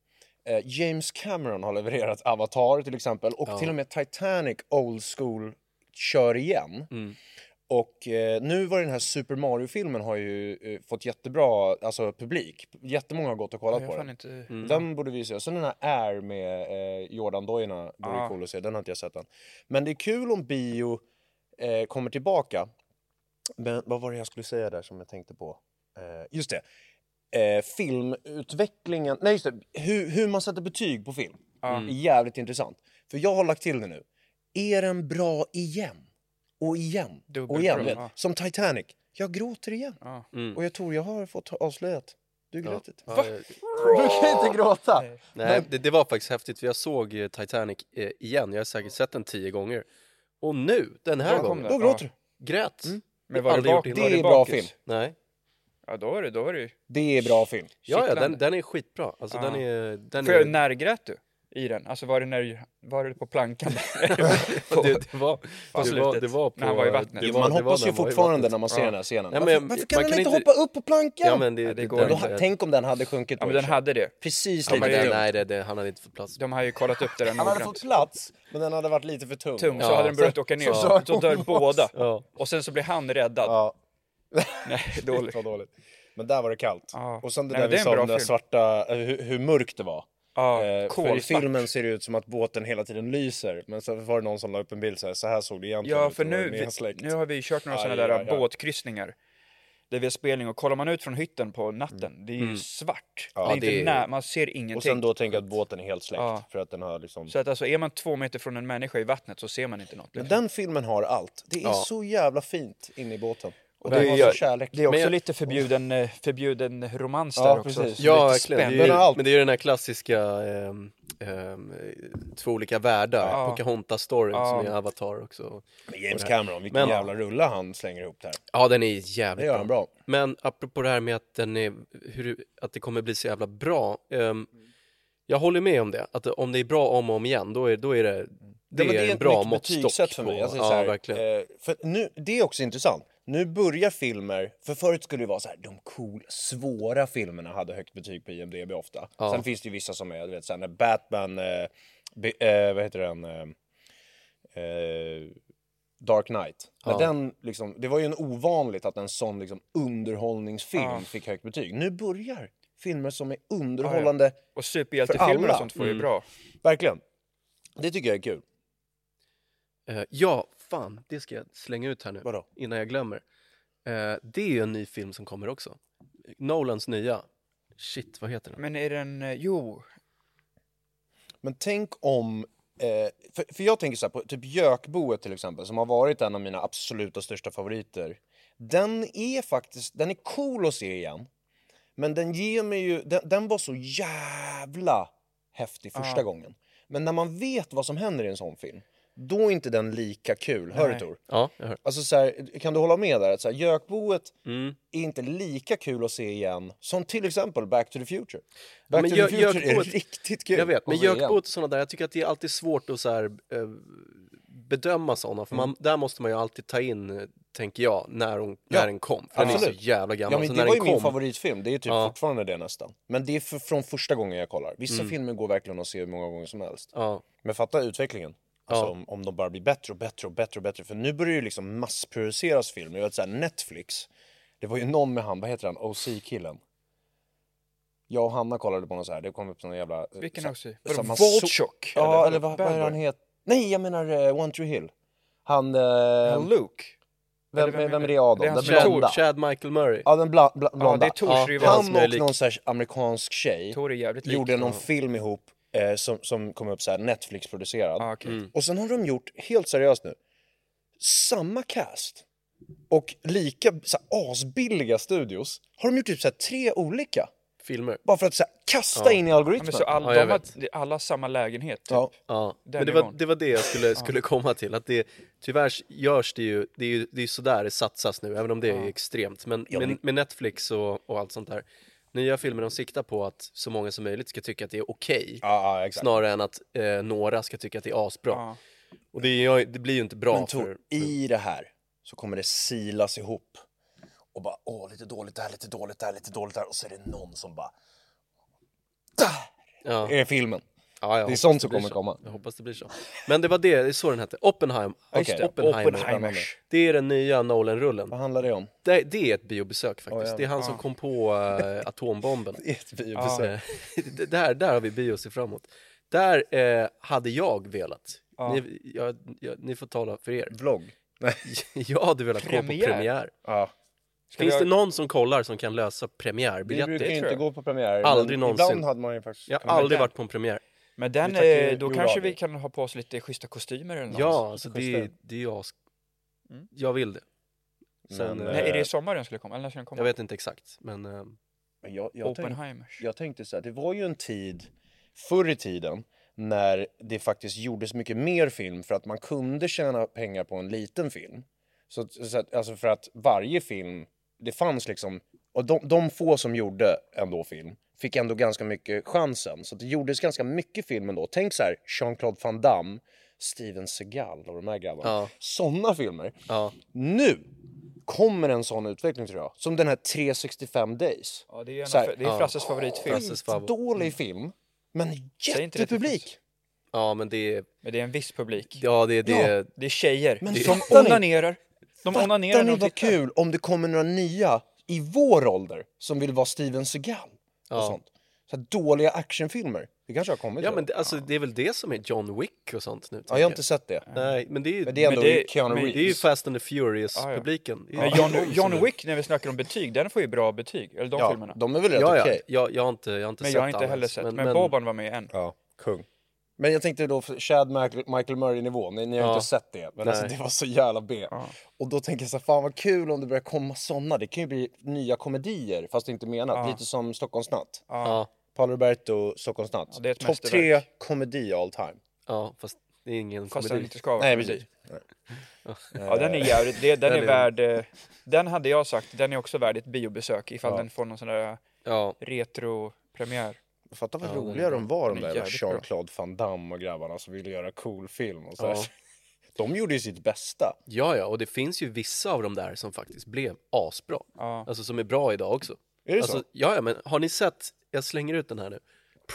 [SPEAKER 1] Eh, James Cameron har levererat Avatar till exempel och till och med Titanic old school kör igen.
[SPEAKER 4] Mm.
[SPEAKER 1] Och eh, nu var det den här Super Mario-filmen har ju eh, fått jättebra alltså, publik. Jättemånga har gått och kollat
[SPEAKER 4] Jag
[SPEAKER 1] på
[SPEAKER 4] har
[SPEAKER 1] den.
[SPEAKER 4] fan inte...
[SPEAKER 3] Mm.
[SPEAKER 1] Den borde vi se. Sen den här Air med eh, Jordan-dojorna vore
[SPEAKER 4] Ja.
[SPEAKER 1] cool att se. Den har inte jag sett än. Men det är kul om bio eh, kommer tillbaka. Men vad var det jag skulle säga där som jag tänkte på? Eh, just det. Eh, filmutvecklingen, nej just det, hur, hur man sätter betyg på film. Mm. är Jävligt intressant. För jag har lagt till det nu. Är den bra igen? Och igen? och
[SPEAKER 4] Dubbelbra,
[SPEAKER 1] igen? vet.
[SPEAKER 4] ja.
[SPEAKER 1] Som Titanic. Jag gråter igen.
[SPEAKER 4] Ja.
[SPEAKER 1] Och jag tror jag har fått avslöjat. Du grät inte.
[SPEAKER 3] Ja,
[SPEAKER 1] Du kan inte gråta!
[SPEAKER 3] Nej, det, det var faktiskt häftigt för jag såg eh, Titanic eh, igen, jag har säkert sett den tio gånger. Och nu, den här
[SPEAKER 4] Då kom
[SPEAKER 3] gången,
[SPEAKER 4] den. Mm.
[SPEAKER 1] Då gråter du.
[SPEAKER 3] grät.
[SPEAKER 4] Men var det,
[SPEAKER 3] Aldrig gjort
[SPEAKER 4] bak,
[SPEAKER 3] innan.
[SPEAKER 4] var
[SPEAKER 1] Det är bra
[SPEAKER 4] bakis?
[SPEAKER 1] film.
[SPEAKER 3] Nej.
[SPEAKER 4] Ja, då var det, då var det ju...
[SPEAKER 1] Det är bra film.
[SPEAKER 3] Ja, ja den,
[SPEAKER 4] Kittlande.
[SPEAKER 3] den är skitbra. Alltså den
[SPEAKER 4] Ja.
[SPEAKER 3] är... Den
[SPEAKER 4] För
[SPEAKER 3] är
[SPEAKER 4] när grät du i den? Alltså var det när, var det
[SPEAKER 1] <laughs>
[SPEAKER 4] på plankan?
[SPEAKER 3] det, <laughs> det, var, det, var,
[SPEAKER 4] slutet.
[SPEAKER 3] det var på...
[SPEAKER 4] När han var i vattnet.
[SPEAKER 3] det
[SPEAKER 4] Ja,
[SPEAKER 3] var-
[SPEAKER 1] man
[SPEAKER 3] det var
[SPEAKER 1] hoppas
[SPEAKER 3] när
[SPEAKER 1] ju
[SPEAKER 3] han var i
[SPEAKER 1] fortfarande
[SPEAKER 3] vattnet.
[SPEAKER 1] när man ser den här scenen.
[SPEAKER 3] Nej, men
[SPEAKER 1] varför,
[SPEAKER 3] jag-
[SPEAKER 1] varför kan
[SPEAKER 3] man
[SPEAKER 1] den
[SPEAKER 3] kan
[SPEAKER 1] inte
[SPEAKER 3] inte-
[SPEAKER 1] hoppa upp på plankan?
[SPEAKER 3] Ja, men det,
[SPEAKER 4] Ja,
[SPEAKER 3] det,
[SPEAKER 4] det går
[SPEAKER 3] den,
[SPEAKER 1] Då,
[SPEAKER 4] inte.
[SPEAKER 3] jag-
[SPEAKER 1] tänk om den hade sjunkit
[SPEAKER 4] ja,
[SPEAKER 1] då
[SPEAKER 4] men
[SPEAKER 1] i
[SPEAKER 4] den
[SPEAKER 1] och för sig.
[SPEAKER 4] hade det.
[SPEAKER 1] Precis
[SPEAKER 3] Ja,
[SPEAKER 1] lika
[SPEAKER 3] men det,
[SPEAKER 1] tung.
[SPEAKER 3] nej, det, det, han hade inte fått plats.
[SPEAKER 4] De har ju kollat upp det där
[SPEAKER 1] Han hade
[SPEAKER 4] noggrant.
[SPEAKER 1] fått plats, men den hade varit lite för tung.
[SPEAKER 4] Tung, så
[SPEAKER 3] Ja,
[SPEAKER 4] hade den börjat
[SPEAKER 1] så-
[SPEAKER 4] åka ner.
[SPEAKER 1] så-
[SPEAKER 4] Så,
[SPEAKER 1] så-
[SPEAKER 4] dör båda.
[SPEAKER 3] Ja.
[SPEAKER 4] Och sen så blir han räddad.
[SPEAKER 1] Ja,
[SPEAKER 4] Nej,
[SPEAKER 1] dåligt.
[SPEAKER 4] dåligt.
[SPEAKER 1] Vad dåligt. Men där var det kallt.
[SPEAKER 4] Ja.
[SPEAKER 1] Och sen det
[SPEAKER 4] Nej,
[SPEAKER 1] där
[SPEAKER 4] men
[SPEAKER 1] vi
[SPEAKER 4] det är en
[SPEAKER 1] sa
[SPEAKER 4] bra
[SPEAKER 1] om den där
[SPEAKER 4] film.
[SPEAKER 1] svarta, eh, hur, hur mörkt det var. Eh,
[SPEAKER 4] Ja,
[SPEAKER 1] för i
[SPEAKER 4] kolsvart.
[SPEAKER 1] filmen ser det ut som att båten hela tiden lyser. Men sen var det någon som la upp en bild så här, så här såg det egentligen
[SPEAKER 4] Ja,
[SPEAKER 1] ut.
[SPEAKER 4] för
[SPEAKER 1] och det var
[SPEAKER 4] nu, vi,
[SPEAKER 1] nedsläckt.
[SPEAKER 4] nu har vi ju kört några
[SPEAKER 1] Ja,
[SPEAKER 4] sådana
[SPEAKER 1] ja,
[SPEAKER 4] där
[SPEAKER 1] ja.
[SPEAKER 4] båtkryssningar. Där vi har spelning och kollar man ut från hytten på natten, det är
[SPEAKER 3] Mm.
[SPEAKER 4] ju svart. det är inte
[SPEAKER 3] det är-
[SPEAKER 4] nä- man ser
[SPEAKER 1] Och
[SPEAKER 4] ingenting.
[SPEAKER 1] sen då tänker jag att båten är helt släckt.
[SPEAKER 4] Ja.
[SPEAKER 1] För att den har liksom...
[SPEAKER 4] Så att alltså, är man två meter från en människa i vattnet så ser man inte något.
[SPEAKER 1] Men den filmen har allt. Det är så jävla fint inne i båten. Och
[SPEAKER 4] det
[SPEAKER 1] den har
[SPEAKER 4] gör-
[SPEAKER 1] så kärlek.
[SPEAKER 4] Det är också
[SPEAKER 3] Men jag-
[SPEAKER 4] lite förbjuden, eh, förbjuden romans
[SPEAKER 1] Ja,
[SPEAKER 4] där också.
[SPEAKER 1] precis.
[SPEAKER 4] Så
[SPEAKER 3] Ja,
[SPEAKER 4] lite
[SPEAKER 3] verkligen.
[SPEAKER 4] spänd.
[SPEAKER 3] Det är,
[SPEAKER 1] Den har
[SPEAKER 3] ju-
[SPEAKER 1] allt.
[SPEAKER 3] men det är ju den här klassiska ehm, ehm, två olika världar,
[SPEAKER 4] Ja.
[SPEAKER 3] Pocahontas-storyn som är
[SPEAKER 4] Ja.
[SPEAKER 3] Avatar också.
[SPEAKER 1] Men James Cameron, vilken
[SPEAKER 3] Men-
[SPEAKER 1] jävla rulla han slänger ihop där.
[SPEAKER 3] Ja, den är
[SPEAKER 1] Det
[SPEAKER 3] jävligt
[SPEAKER 1] gör
[SPEAKER 3] bra.
[SPEAKER 1] han bra.
[SPEAKER 3] Men apropå det här med att, den är, hur, att det kommer bli så jävla bra. ehm, jag håller med om det, att om det är bra om och om igen, då är, då är det,
[SPEAKER 1] Ja,
[SPEAKER 3] det,
[SPEAKER 1] men
[SPEAKER 3] är en
[SPEAKER 1] ett
[SPEAKER 3] bra
[SPEAKER 1] nytt
[SPEAKER 3] måttstock.
[SPEAKER 1] betygssätt för mig.
[SPEAKER 3] på-
[SPEAKER 1] Jag säger
[SPEAKER 3] ja,
[SPEAKER 1] så här,
[SPEAKER 3] verkligen.
[SPEAKER 1] eh, för nu, det är också intressant. Nu börjar filmer, för förut skulle det vara så här, de cool, svåra filmerna hade högt betyg på IMDB ofta. Sen finns det ju vissa som är, du vet, så här, när Batman, eh, be, eh, vad heter den, eh, eh, Dark Knight. När den liksom, det var ju en ovanligt att en sån liksom, underhållningsfilm fick högt betyg. Nu börjar filmer som är underhållande,
[SPEAKER 4] Och
[SPEAKER 1] För
[SPEAKER 4] superhjältefilmer
[SPEAKER 1] alla.
[SPEAKER 4] och sånt får
[SPEAKER 3] Mm.
[SPEAKER 4] ju bra.
[SPEAKER 1] verkligen. Det tycker jag är kul.
[SPEAKER 3] Eh, ja, fan, det ska jag slänga ut här nu
[SPEAKER 1] Vadå?
[SPEAKER 3] innan jag glömmer. Eh, det är ju en ny film som kommer också. Nolans nya. Shit, vad heter den?
[SPEAKER 4] Men är den, eh, jo,
[SPEAKER 1] Men tänk om... Eh, för, för jag tänker så här på typ Jökboet till exempel, som har varit en av mina absoluta största favoriter. Den är faktiskt, den är cool att se igen. Men den ger mig ju, den, den var så jävla häftig första gången. Men när man vet vad som händer i en sån film, då är inte den lika kul. Hör du Tor?
[SPEAKER 3] Ja, jag hör.
[SPEAKER 1] Alltså så här, kan du hålla med där? Att så här, Jökboet
[SPEAKER 3] Mm.
[SPEAKER 1] är inte lika kul att se igen som till exempel Back to the Future. Back
[SPEAKER 3] Men
[SPEAKER 1] to
[SPEAKER 3] Jö-
[SPEAKER 1] the Future
[SPEAKER 3] Jökboet-
[SPEAKER 1] är riktigt kul
[SPEAKER 3] Jag vet, men
[SPEAKER 1] att se igen.
[SPEAKER 3] gökbåt och sådana där, jag tycker att det är alltid svårt att så här, eh, bedöma sådana, för
[SPEAKER 1] Mm.
[SPEAKER 3] man, där måste man ju alltid ta in, eh, tänker jag, när, hon,
[SPEAKER 1] Ja,
[SPEAKER 3] när den kom. För den är så
[SPEAKER 1] absolut.
[SPEAKER 3] jävla gammal.
[SPEAKER 1] Ja, men
[SPEAKER 3] så
[SPEAKER 1] det
[SPEAKER 3] när
[SPEAKER 1] var ju
[SPEAKER 3] den
[SPEAKER 1] min
[SPEAKER 3] kom,
[SPEAKER 1] favoritfilm, det är typ
[SPEAKER 3] Ja.
[SPEAKER 1] fortfarande det nästan. Men det är för, från första gången jag kollar. Vissa
[SPEAKER 3] Mm.
[SPEAKER 1] filmer går verkligen att se hur många gånger som helst.
[SPEAKER 3] Ja,
[SPEAKER 1] Men fatta utvecklingen. Alltså
[SPEAKER 3] Ja.
[SPEAKER 1] om, om de bara blir bättre och bättre och bättre och bättre. För nu börjar ju liksom massproduceras filmer. Jag vet såhär Netflix, det var ju någon med han, vad heter han, OC-killen? Jag och Hanna kollade på någon så här. det kom upp någon jävla... eh,
[SPEAKER 4] vilken
[SPEAKER 1] så-
[SPEAKER 4] också?
[SPEAKER 1] så- man
[SPEAKER 4] Voltchock?
[SPEAKER 1] Ja, eller, vad, vad är han het? Nej, jag menar eh, One Tree Hill. Han... Eh,
[SPEAKER 4] Luke?
[SPEAKER 1] vem,
[SPEAKER 4] eller vem
[SPEAKER 1] vem, är
[SPEAKER 4] är det?
[SPEAKER 1] det Adam?
[SPEAKER 4] Det är hans
[SPEAKER 1] Den
[SPEAKER 4] bror,
[SPEAKER 3] Chad,
[SPEAKER 1] blonda.
[SPEAKER 3] Chad Michael Murray.
[SPEAKER 1] Alltså, Ja, den bla, bla, blonda.
[SPEAKER 4] Ja, det är Tors
[SPEAKER 3] Ja.
[SPEAKER 4] rival.
[SPEAKER 3] Han-
[SPEAKER 1] Han
[SPEAKER 3] som är
[SPEAKER 1] och
[SPEAKER 3] lik.
[SPEAKER 1] någon sorts amerikansk tjej
[SPEAKER 4] Tor är jävligt lik.
[SPEAKER 1] gjorde någon film ihop eh, som, som kom upp så här Netflix-producerad.
[SPEAKER 4] Ja, okej.
[SPEAKER 3] Mm.
[SPEAKER 1] Och sen har de gjort, helt seriöst nu, samma cast och lika så här, asbilliga studios har de gjort typ så här, tre olika.
[SPEAKER 3] Filmer.
[SPEAKER 1] Bara för att så här, kasta in i
[SPEAKER 4] Ja,
[SPEAKER 1] algoritmen.
[SPEAKER 4] men så all,
[SPEAKER 3] Ja,
[SPEAKER 4] de
[SPEAKER 3] jag
[SPEAKER 4] har,
[SPEAKER 3] vet.
[SPEAKER 4] det är alla samma lägenhet, typ.
[SPEAKER 1] ja.
[SPEAKER 3] Ja,
[SPEAKER 4] Den
[SPEAKER 3] men det var,
[SPEAKER 4] nivån.
[SPEAKER 3] det var det jag skulle, skulle komma till. Att det, tyvärr görs det ju, det är ju det är sådär det satsas nu, även om det är extremt. Men med, med Netflix och, och allt sånt där, nya filmer de siktar på att så många som möjligt ska tycka att det är okej.
[SPEAKER 1] Ja, ja, exakt.
[SPEAKER 3] Snarare än att eh, några ska tycka att det är asbra.
[SPEAKER 4] Ja.
[SPEAKER 3] Och det, är- det blir ju inte bra
[SPEAKER 1] Men
[SPEAKER 3] för...
[SPEAKER 1] Tor, i det här så kommer det silas ihop. Och bara, åh, lite dåligt där, lite dåligt där, lite dåligt där. Och så är det någon som bara, där
[SPEAKER 3] Ja.
[SPEAKER 1] är filmen.
[SPEAKER 3] Ja, jag
[SPEAKER 1] Det är
[SPEAKER 3] hoppas
[SPEAKER 1] sånt som
[SPEAKER 3] blir
[SPEAKER 1] kommer
[SPEAKER 3] så.
[SPEAKER 1] komma.
[SPEAKER 3] Jag hoppas det blir så. Men det var det, det är så den hette. Oppenheim.
[SPEAKER 1] just det.
[SPEAKER 3] Oppenheimer.
[SPEAKER 1] Oppenheimers.
[SPEAKER 3] Det är den nya Nolan-rullen.
[SPEAKER 1] Vad handlar det om?
[SPEAKER 3] Det, det är ett biobesök faktiskt.
[SPEAKER 1] ja.
[SPEAKER 3] Det är han som kom på
[SPEAKER 1] <laughs>
[SPEAKER 3] eh, atombomben.
[SPEAKER 1] Ett biobesök.
[SPEAKER 3] Eh, <laughs> det- där, där har vi bio att se framåt. Där eh, hade jag velat. Ni, jag, jag, ni får tala för er. <laughs>
[SPEAKER 1] Vlogg? Nej.
[SPEAKER 3] Jag hade velat gå på
[SPEAKER 4] Premiär?
[SPEAKER 3] premiär.
[SPEAKER 1] Ja.
[SPEAKER 3] Finns
[SPEAKER 4] jag-
[SPEAKER 3] det någon som kollar som kan lösa
[SPEAKER 1] Vi
[SPEAKER 3] premiärbiljetter?
[SPEAKER 1] brukar ju inte
[SPEAKER 4] jag.
[SPEAKER 1] gå på premiärer.
[SPEAKER 3] Aldrig
[SPEAKER 1] men
[SPEAKER 3] någonsin.
[SPEAKER 1] Ibland hade man ju faktiskt...
[SPEAKER 3] Jag har
[SPEAKER 1] kunnat-
[SPEAKER 3] aldrig varit på en premiär.
[SPEAKER 4] Men den,
[SPEAKER 1] Vi tackar
[SPEAKER 4] eh, då
[SPEAKER 1] Joe
[SPEAKER 4] kanske
[SPEAKER 1] Ravi.
[SPEAKER 4] vi kan ha på oss lite schyssta kostymer eller något.
[SPEAKER 3] Ja, alltså det,
[SPEAKER 1] kostar.
[SPEAKER 3] det är as... Jag vill det. Sen,
[SPEAKER 1] Mm. Men,
[SPEAKER 3] eh,
[SPEAKER 4] Nej, är det i sommar den skulle komma? Eller när ska den komma?
[SPEAKER 3] Jag vet inte exakt, men... eh,
[SPEAKER 1] Men Jag, jag, tänkte,
[SPEAKER 4] Oppenheimers.
[SPEAKER 1] jag tänkte så här, det var ju en tid förr i tiden när det faktiskt gjordes mycket mer film för att man kunde tjäna pengar på en liten film. Så, att- så att, alltså för att varje film, det fanns liksom, och de, de få som gjorde ändå film fick ändå ganska mycket chansen. Så att det gjordes ganska mycket film ändå. Tänk så här, Jean-Claude Van Damme, Steven Seagal och de här grabbarna.
[SPEAKER 3] Ja.
[SPEAKER 1] Sådana filmer.
[SPEAKER 3] ja.
[SPEAKER 1] Nu kommer en sån utveckling tror jag, som den här 365 days.
[SPEAKER 4] Ja, det är,
[SPEAKER 1] Så här,
[SPEAKER 4] en, det är Frasses favoritfilm.
[SPEAKER 3] Frasses favorit.
[SPEAKER 1] Dålig film, men
[SPEAKER 4] Mm. Säg inte det till
[SPEAKER 1] jättepublik.
[SPEAKER 3] ja, men det är...
[SPEAKER 4] Men det är en viss publik.
[SPEAKER 3] Ja, det är... Det,
[SPEAKER 1] Ja.
[SPEAKER 4] Det är tjejer.
[SPEAKER 1] Men
[SPEAKER 4] som
[SPEAKER 1] fattar ni?
[SPEAKER 4] onanerar. De onanerar
[SPEAKER 1] Fattar
[SPEAKER 4] när
[SPEAKER 1] ni
[SPEAKER 4] de
[SPEAKER 1] vad
[SPEAKER 4] tittar.
[SPEAKER 1] kul om det kommer några nya i vår ålder som vill vara Steven Seagal och
[SPEAKER 3] Ja.
[SPEAKER 1] sånt. Så här, dåliga actionfilmer. Det kanske har kommit.
[SPEAKER 3] ja,
[SPEAKER 1] redan.
[SPEAKER 3] men det, alltså, det är väl det som är John Wick och sånt nu?
[SPEAKER 1] ja,
[SPEAKER 3] tänker
[SPEAKER 1] jag har inte sett det.
[SPEAKER 3] Nej, men det är ju...
[SPEAKER 1] Men det är ändå
[SPEAKER 4] det-
[SPEAKER 1] Keanu
[SPEAKER 4] men
[SPEAKER 1] Reeves.
[SPEAKER 3] det är ju Fast and the Furious-publiken. Det är ju
[SPEAKER 4] Men
[SPEAKER 3] de
[SPEAKER 4] John,
[SPEAKER 3] som
[SPEAKER 4] John
[SPEAKER 3] är-
[SPEAKER 4] Wick, när vi snackar om betyg, den får ju bra betyg. Eller de
[SPEAKER 1] ja,
[SPEAKER 4] filmerna.
[SPEAKER 1] de är väl rätt
[SPEAKER 3] Ja, ja.
[SPEAKER 1] okej.
[SPEAKER 3] Jag, jag har inte, jag har inte
[SPEAKER 4] men
[SPEAKER 3] sett
[SPEAKER 4] jag har inte
[SPEAKER 3] alla
[SPEAKER 4] heller
[SPEAKER 3] ens,
[SPEAKER 4] sett. Men, Boban var med än.
[SPEAKER 1] Ja, kung. Men jag tänkte då för Chad Michael, Michael Murray-nivå, ni, ni har
[SPEAKER 3] Ja.
[SPEAKER 1] inte sett det, men alltså,
[SPEAKER 3] Nej.
[SPEAKER 1] det var så jävla B. Och då tänker jag så här, fan vad kul om det börjar komma såna. Det kan ju bli nya komedier, fast det är inte menat. Lite som Stockholmsnatt.
[SPEAKER 3] Ja,
[SPEAKER 1] Paolo Roberto, Stockholmsnatt.
[SPEAKER 4] det är ett
[SPEAKER 1] Topp tre
[SPEAKER 4] mästerverk.
[SPEAKER 1] komedi all time.
[SPEAKER 3] ja, fast det är ingen
[SPEAKER 4] Fast den
[SPEAKER 3] komedi.
[SPEAKER 4] inte ska vara
[SPEAKER 1] Nej,
[SPEAKER 4] komedi.
[SPEAKER 1] precis.
[SPEAKER 4] Ja, den är jävligt, det, den
[SPEAKER 3] Den
[SPEAKER 4] är
[SPEAKER 3] är-
[SPEAKER 4] värd, eh, den hade jag sagt, den är också värd ett biobesök ifall den får någon sån där
[SPEAKER 3] Ja,
[SPEAKER 4] retropremiär.
[SPEAKER 1] Fatta vad roliga de var, de
[SPEAKER 4] den är
[SPEAKER 1] där
[SPEAKER 4] jävligt
[SPEAKER 1] Jean-Claude Van Damme och grabbarna som ville göra cool film. Och så här.
[SPEAKER 3] Ja.
[SPEAKER 1] <laughs> De gjorde ju sitt bästa.
[SPEAKER 3] Ja, ja, och det finns ju vissa av de där som faktiskt blev asbra. Alltså som är bra idag också.
[SPEAKER 1] Är det
[SPEAKER 3] alltså,
[SPEAKER 1] så?
[SPEAKER 3] Ja, ja, men har ni sett, jag slänger ut den här nu,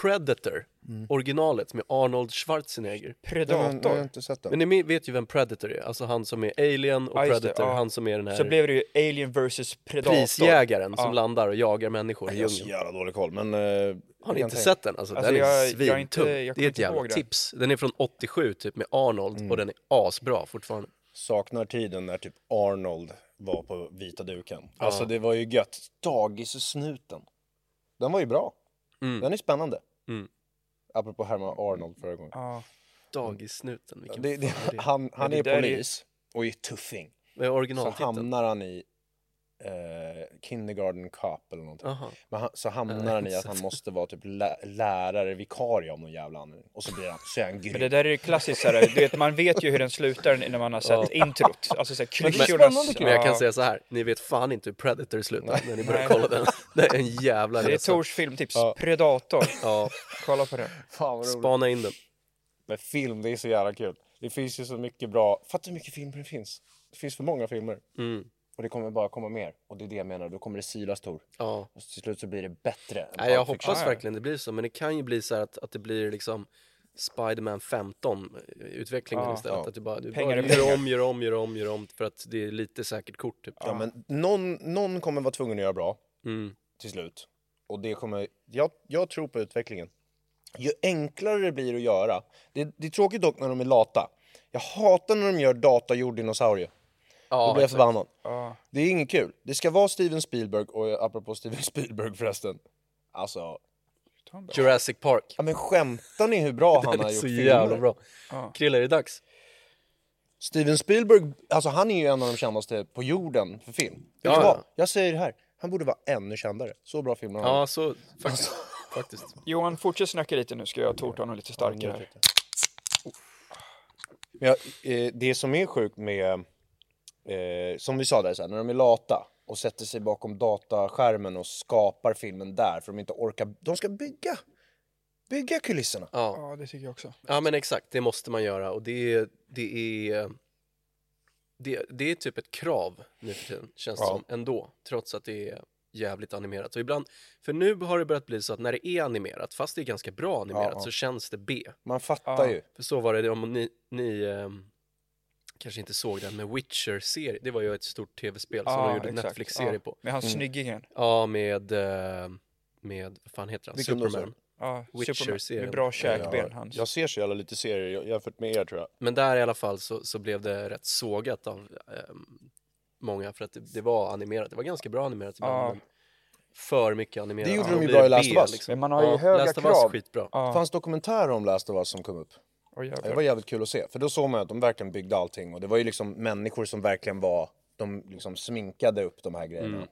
[SPEAKER 3] Predator,
[SPEAKER 1] Mm.
[SPEAKER 3] originalet med Arnold Schwarzenegger.
[SPEAKER 1] Jag, jag har
[SPEAKER 4] Predator.
[SPEAKER 1] inte sett den.
[SPEAKER 3] Men ni min- vet ju vem Predator är, alltså han som är Alien och
[SPEAKER 4] Ja, just det,
[SPEAKER 3] Predator,
[SPEAKER 4] ja.
[SPEAKER 3] han som är den här
[SPEAKER 4] Så blev det ju Alien vs Predator.
[SPEAKER 3] prisjägaren som landar och jagar människor i
[SPEAKER 1] jag har så
[SPEAKER 3] djungeln.
[SPEAKER 1] jävla dålig koll, men... eh, jag
[SPEAKER 3] Har
[SPEAKER 1] kan
[SPEAKER 3] ni inte
[SPEAKER 1] tänka-
[SPEAKER 3] sett den? Alltså,
[SPEAKER 4] Alltså,
[SPEAKER 3] den
[SPEAKER 4] jag-
[SPEAKER 3] är
[SPEAKER 4] jag
[SPEAKER 3] svintung.
[SPEAKER 4] är inte- jag
[SPEAKER 3] det
[SPEAKER 4] kommer
[SPEAKER 3] är ett
[SPEAKER 4] inte
[SPEAKER 3] jävla
[SPEAKER 4] ihåg Mm. det.
[SPEAKER 3] tips. Den är från 87 typ med Arnold och den är asbra fortfarande.
[SPEAKER 4] Mm.
[SPEAKER 1] Saknar tiden när typ Arnold var på vita duken. Alltså det var ju gött. Dagis-snuten. Den var ju bra. Den är spännande.
[SPEAKER 3] Mm.
[SPEAKER 1] Apropå härma Arnold förra gången.
[SPEAKER 4] Ja.
[SPEAKER 3] Dagissnuten, vilken
[SPEAKER 1] Det, det,
[SPEAKER 3] fan är det?
[SPEAKER 1] han han
[SPEAKER 4] det
[SPEAKER 1] är
[SPEAKER 4] där är-
[SPEAKER 1] polis och är tuffing.
[SPEAKER 3] Med
[SPEAKER 1] Så
[SPEAKER 3] originaltiteln?
[SPEAKER 1] hamnar han i eh, Kindergarten Cop eller någonting.
[SPEAKER 3] Jaha.
[SPEAKER 1] Men han, så hamnar
[SPEAKER 3] Nej,
[SPEAKER 1] han i
[SPEAKER 3] inte
[SPEAKER 1] att han
[SPEAKER 3] sett.
[SPEAKER 1] måste vara typ lä- lärare, vikarie av någon jävla anledning. Och så blir han, så är han
[SPEAKER 4] Men det
[SPEAKER 1] grym.
[SPEAKER 4] där är ju klassiskt så här, du vet, man vet ju hur den slutar när man har sett introt. Alltså så här, klyschornas...
[SPEAKER 3] Men jag kan
[SPEAKER 4] ja.
[SPEAKER 3] säga så här, ni vet fan inte hur Predator slutar när ni börjar
[SPEAKER 4] Nej.
[SPEAKER 3] kolla den. Det är en jävla
[SPEAKER 4] Det är
[SPEAKER 3] resa.
[SPEAKER 4] Tors filmtips, Predator.
[SPEAKER 3] Ja,
[SPEAKER 4] Kolla på det.
[SPEAKER 1] Fan vad roligt.
[SPEAKER 3] spana in den.
[SPEAKER 1] Men film, det är så jävla kul. Det finns ju så mycket bra. Fattar hur mycket filmer det finns. Det finns för många filmer.
[SPEAKER 3] Mm.
[SPEAKER 1] Och det kommer bara komma mer. Och det är det jag menar, då kommer det silas Tor.
[SPEAKER 3] Ja.
[SPEAKER 1] Och till slut så blir det bättre. än
[SPEAKER 3] Nej, jag
[SPEAKER 4] typ.
[SPEAKER 1] Pulp Fiction.
[SPEAKER 3] hoppas verkligen det blir så, men det kan ju bli så här att, att det blir liksom Spiderman 15 eh, utvecklingen
[SPEAKER 4] Ja,
[SPEAKER 3] istället.
[SPEAKER 1] ja.
[SPEAKER 3] Att du bara, du
[SPEAKER 4] Pengar
[SPEAKER 3] bara
[SPEAKER 4] är
[SPEAKER 3] gör
[SPEAKER 4] pengar.
[SPEAKER 3] om, gör om, gör om, gör om för att det är lite säkert kort typ.
[SPEAKER 1] Ja, men någon, någon kommer vara tvungen att göra bra
[SPEAKER 3] Mm.
[SPEAKER 1] till slut. Och det kommer... Jag, jag tror på utvecklingen. Ju enklare det blir att göra. Det, det är tråkigt dock när de är lata. Jag hatar när de gör datagjord dinosaurie. Då
[SPEAKER 3] Ja,
[SPEAKER 1] blir jag
[SPEAKER 3] exakt.
[SPEAKER 1] förbannad.
[SPEAKER 4] Ja.
[SPEAKER 1] Det är inget kul. Det ska vara Steven Spielberg, och apropå Steven <laughs> Spielberg förresten. Alltså,
[SPEAKER 3] Jurassic Park.
[SPEAKER 1] ja, men skämtar ni hur
[SPEAKER 3] <laughs>
[SPEAKER 1] bra han
[SPEAKER 3] Den
[SPEAKER 1] har
[SPEAKER 3] är
[SPEAKER 1] gjort
[SPEAKER 3] så
[SPEAKER 1] filmer?
[SPEAKER 3] jävla bra. Krille, är det dags?
[SPEAKER 1] Steven Spielberg, alltså han är ju en av de kändaste på jorden för film. Vet du
[SPEAKER 3] Ja,
[SPEAKER 1] vad?
[SPEAKER 3] ja.
[SPEAKER 1] Jag säger det här, han borde vara ännu kändare. Så bra filmer har han
[SPEAKER 3] Ja, så
[SPEAKER 1] <laughs>
[SPEAKER 3] faktiskt. faktiskt.
[SPEAKER 4] Johan, fortsätt snacka lite nu, ska jag tårta honom lite starkare. här.
[SPEAKER 1] Men jag, eh, det som är sjukt med, eh, som vi sa där, så här, när de är lata och sätter sig bakom dataskärmen och skapar filmen där för de inte orkar, de ska bygga, bygga kulisserna.
[SPEAKER 3] Ja.
[SPEAKER 4] Ja, det tycker jag också.
[SPEAKER 3] ja, men exakt, det måste man göra och det, är- det är det, det är typ ett krav nu för tiden, känns det
[SPEAKER 1] Ja.
[SPEAKER 3] som, ändå, trots att det är jävligt animerat. Och ibland, för nu har det börjat bli så att när det är animerat, fast det är ganska bra animerat,
[SPEAKER 1] ja.
[SPEAKER 3] så känns det B.
[SPEAKER 1] Man fattar
[SPEAKER 4] Ja.
[SPEAKER 1] ju.
[SPEAKER 3] För så var det om ni, ni ehm, kanske inte såg den, men Witcher-serien, det var ju ett stort tv-spel som de gjorde en
[SPEAKER 4] exakt.
[SPEAKER 3] Netflix-serie
[SPEAKER 4] ja.
[SPEAKER 3] på. Mm.
[SPEAKER 4] Med hans snyggingen.
[SPEAKER 3] Ja, med, eh, med, vad fan heter han?
[SPEAKER 1] Vilken då, sa
[SPEAKER 3] Superman.
[SPEAKER 4] Ja,
[SPEAKER 3] Witcher-serien.
[SPEAKER 4] Superman. Med bra käkben, hans.
[SPEAKER 1] Jag ser så jävla lite serier jag- jämfört med er tror jag.
[SPEAKER 3] Men där i alla fall så, så blev det rätt sågat av ehm, många för att det, det var animerat. Det var ganska bra animerat ibland,
[SPEAKER 4] Ja.
[SPEAKER 3] men för mycket animerat.
[SPEAKER 1] Det gjorde
[SPEAKER 3] Då
[SPEAKER 1] de ju
[SPEAKER 3] blir
[SPEAKER 1] bra
[SPEAKER 3] det
[SPEAKER 1] i Last
[SPEAKER 3] B, liksom.
[SPEAKER 1] of Us.
[SPEAKER 4] Men man har ju höga
[SPEAKER 3] Last of Us
[SPEAKER 4] krav.
[SPEAKER 3] skitbra.
[SPEAKER 4] Ja.
[SPEAKER 1] Det fanns dokumentärer om Last of Us som kom upp.
[SPEAKER 4] Åh, jävlar.
[SPEAKER 1] Det var jävligt kul att se, för då såg man att de verkligen byggde allting och det var ju liksom människor som verkligen var, de liksom sminkade upp de här grejerna.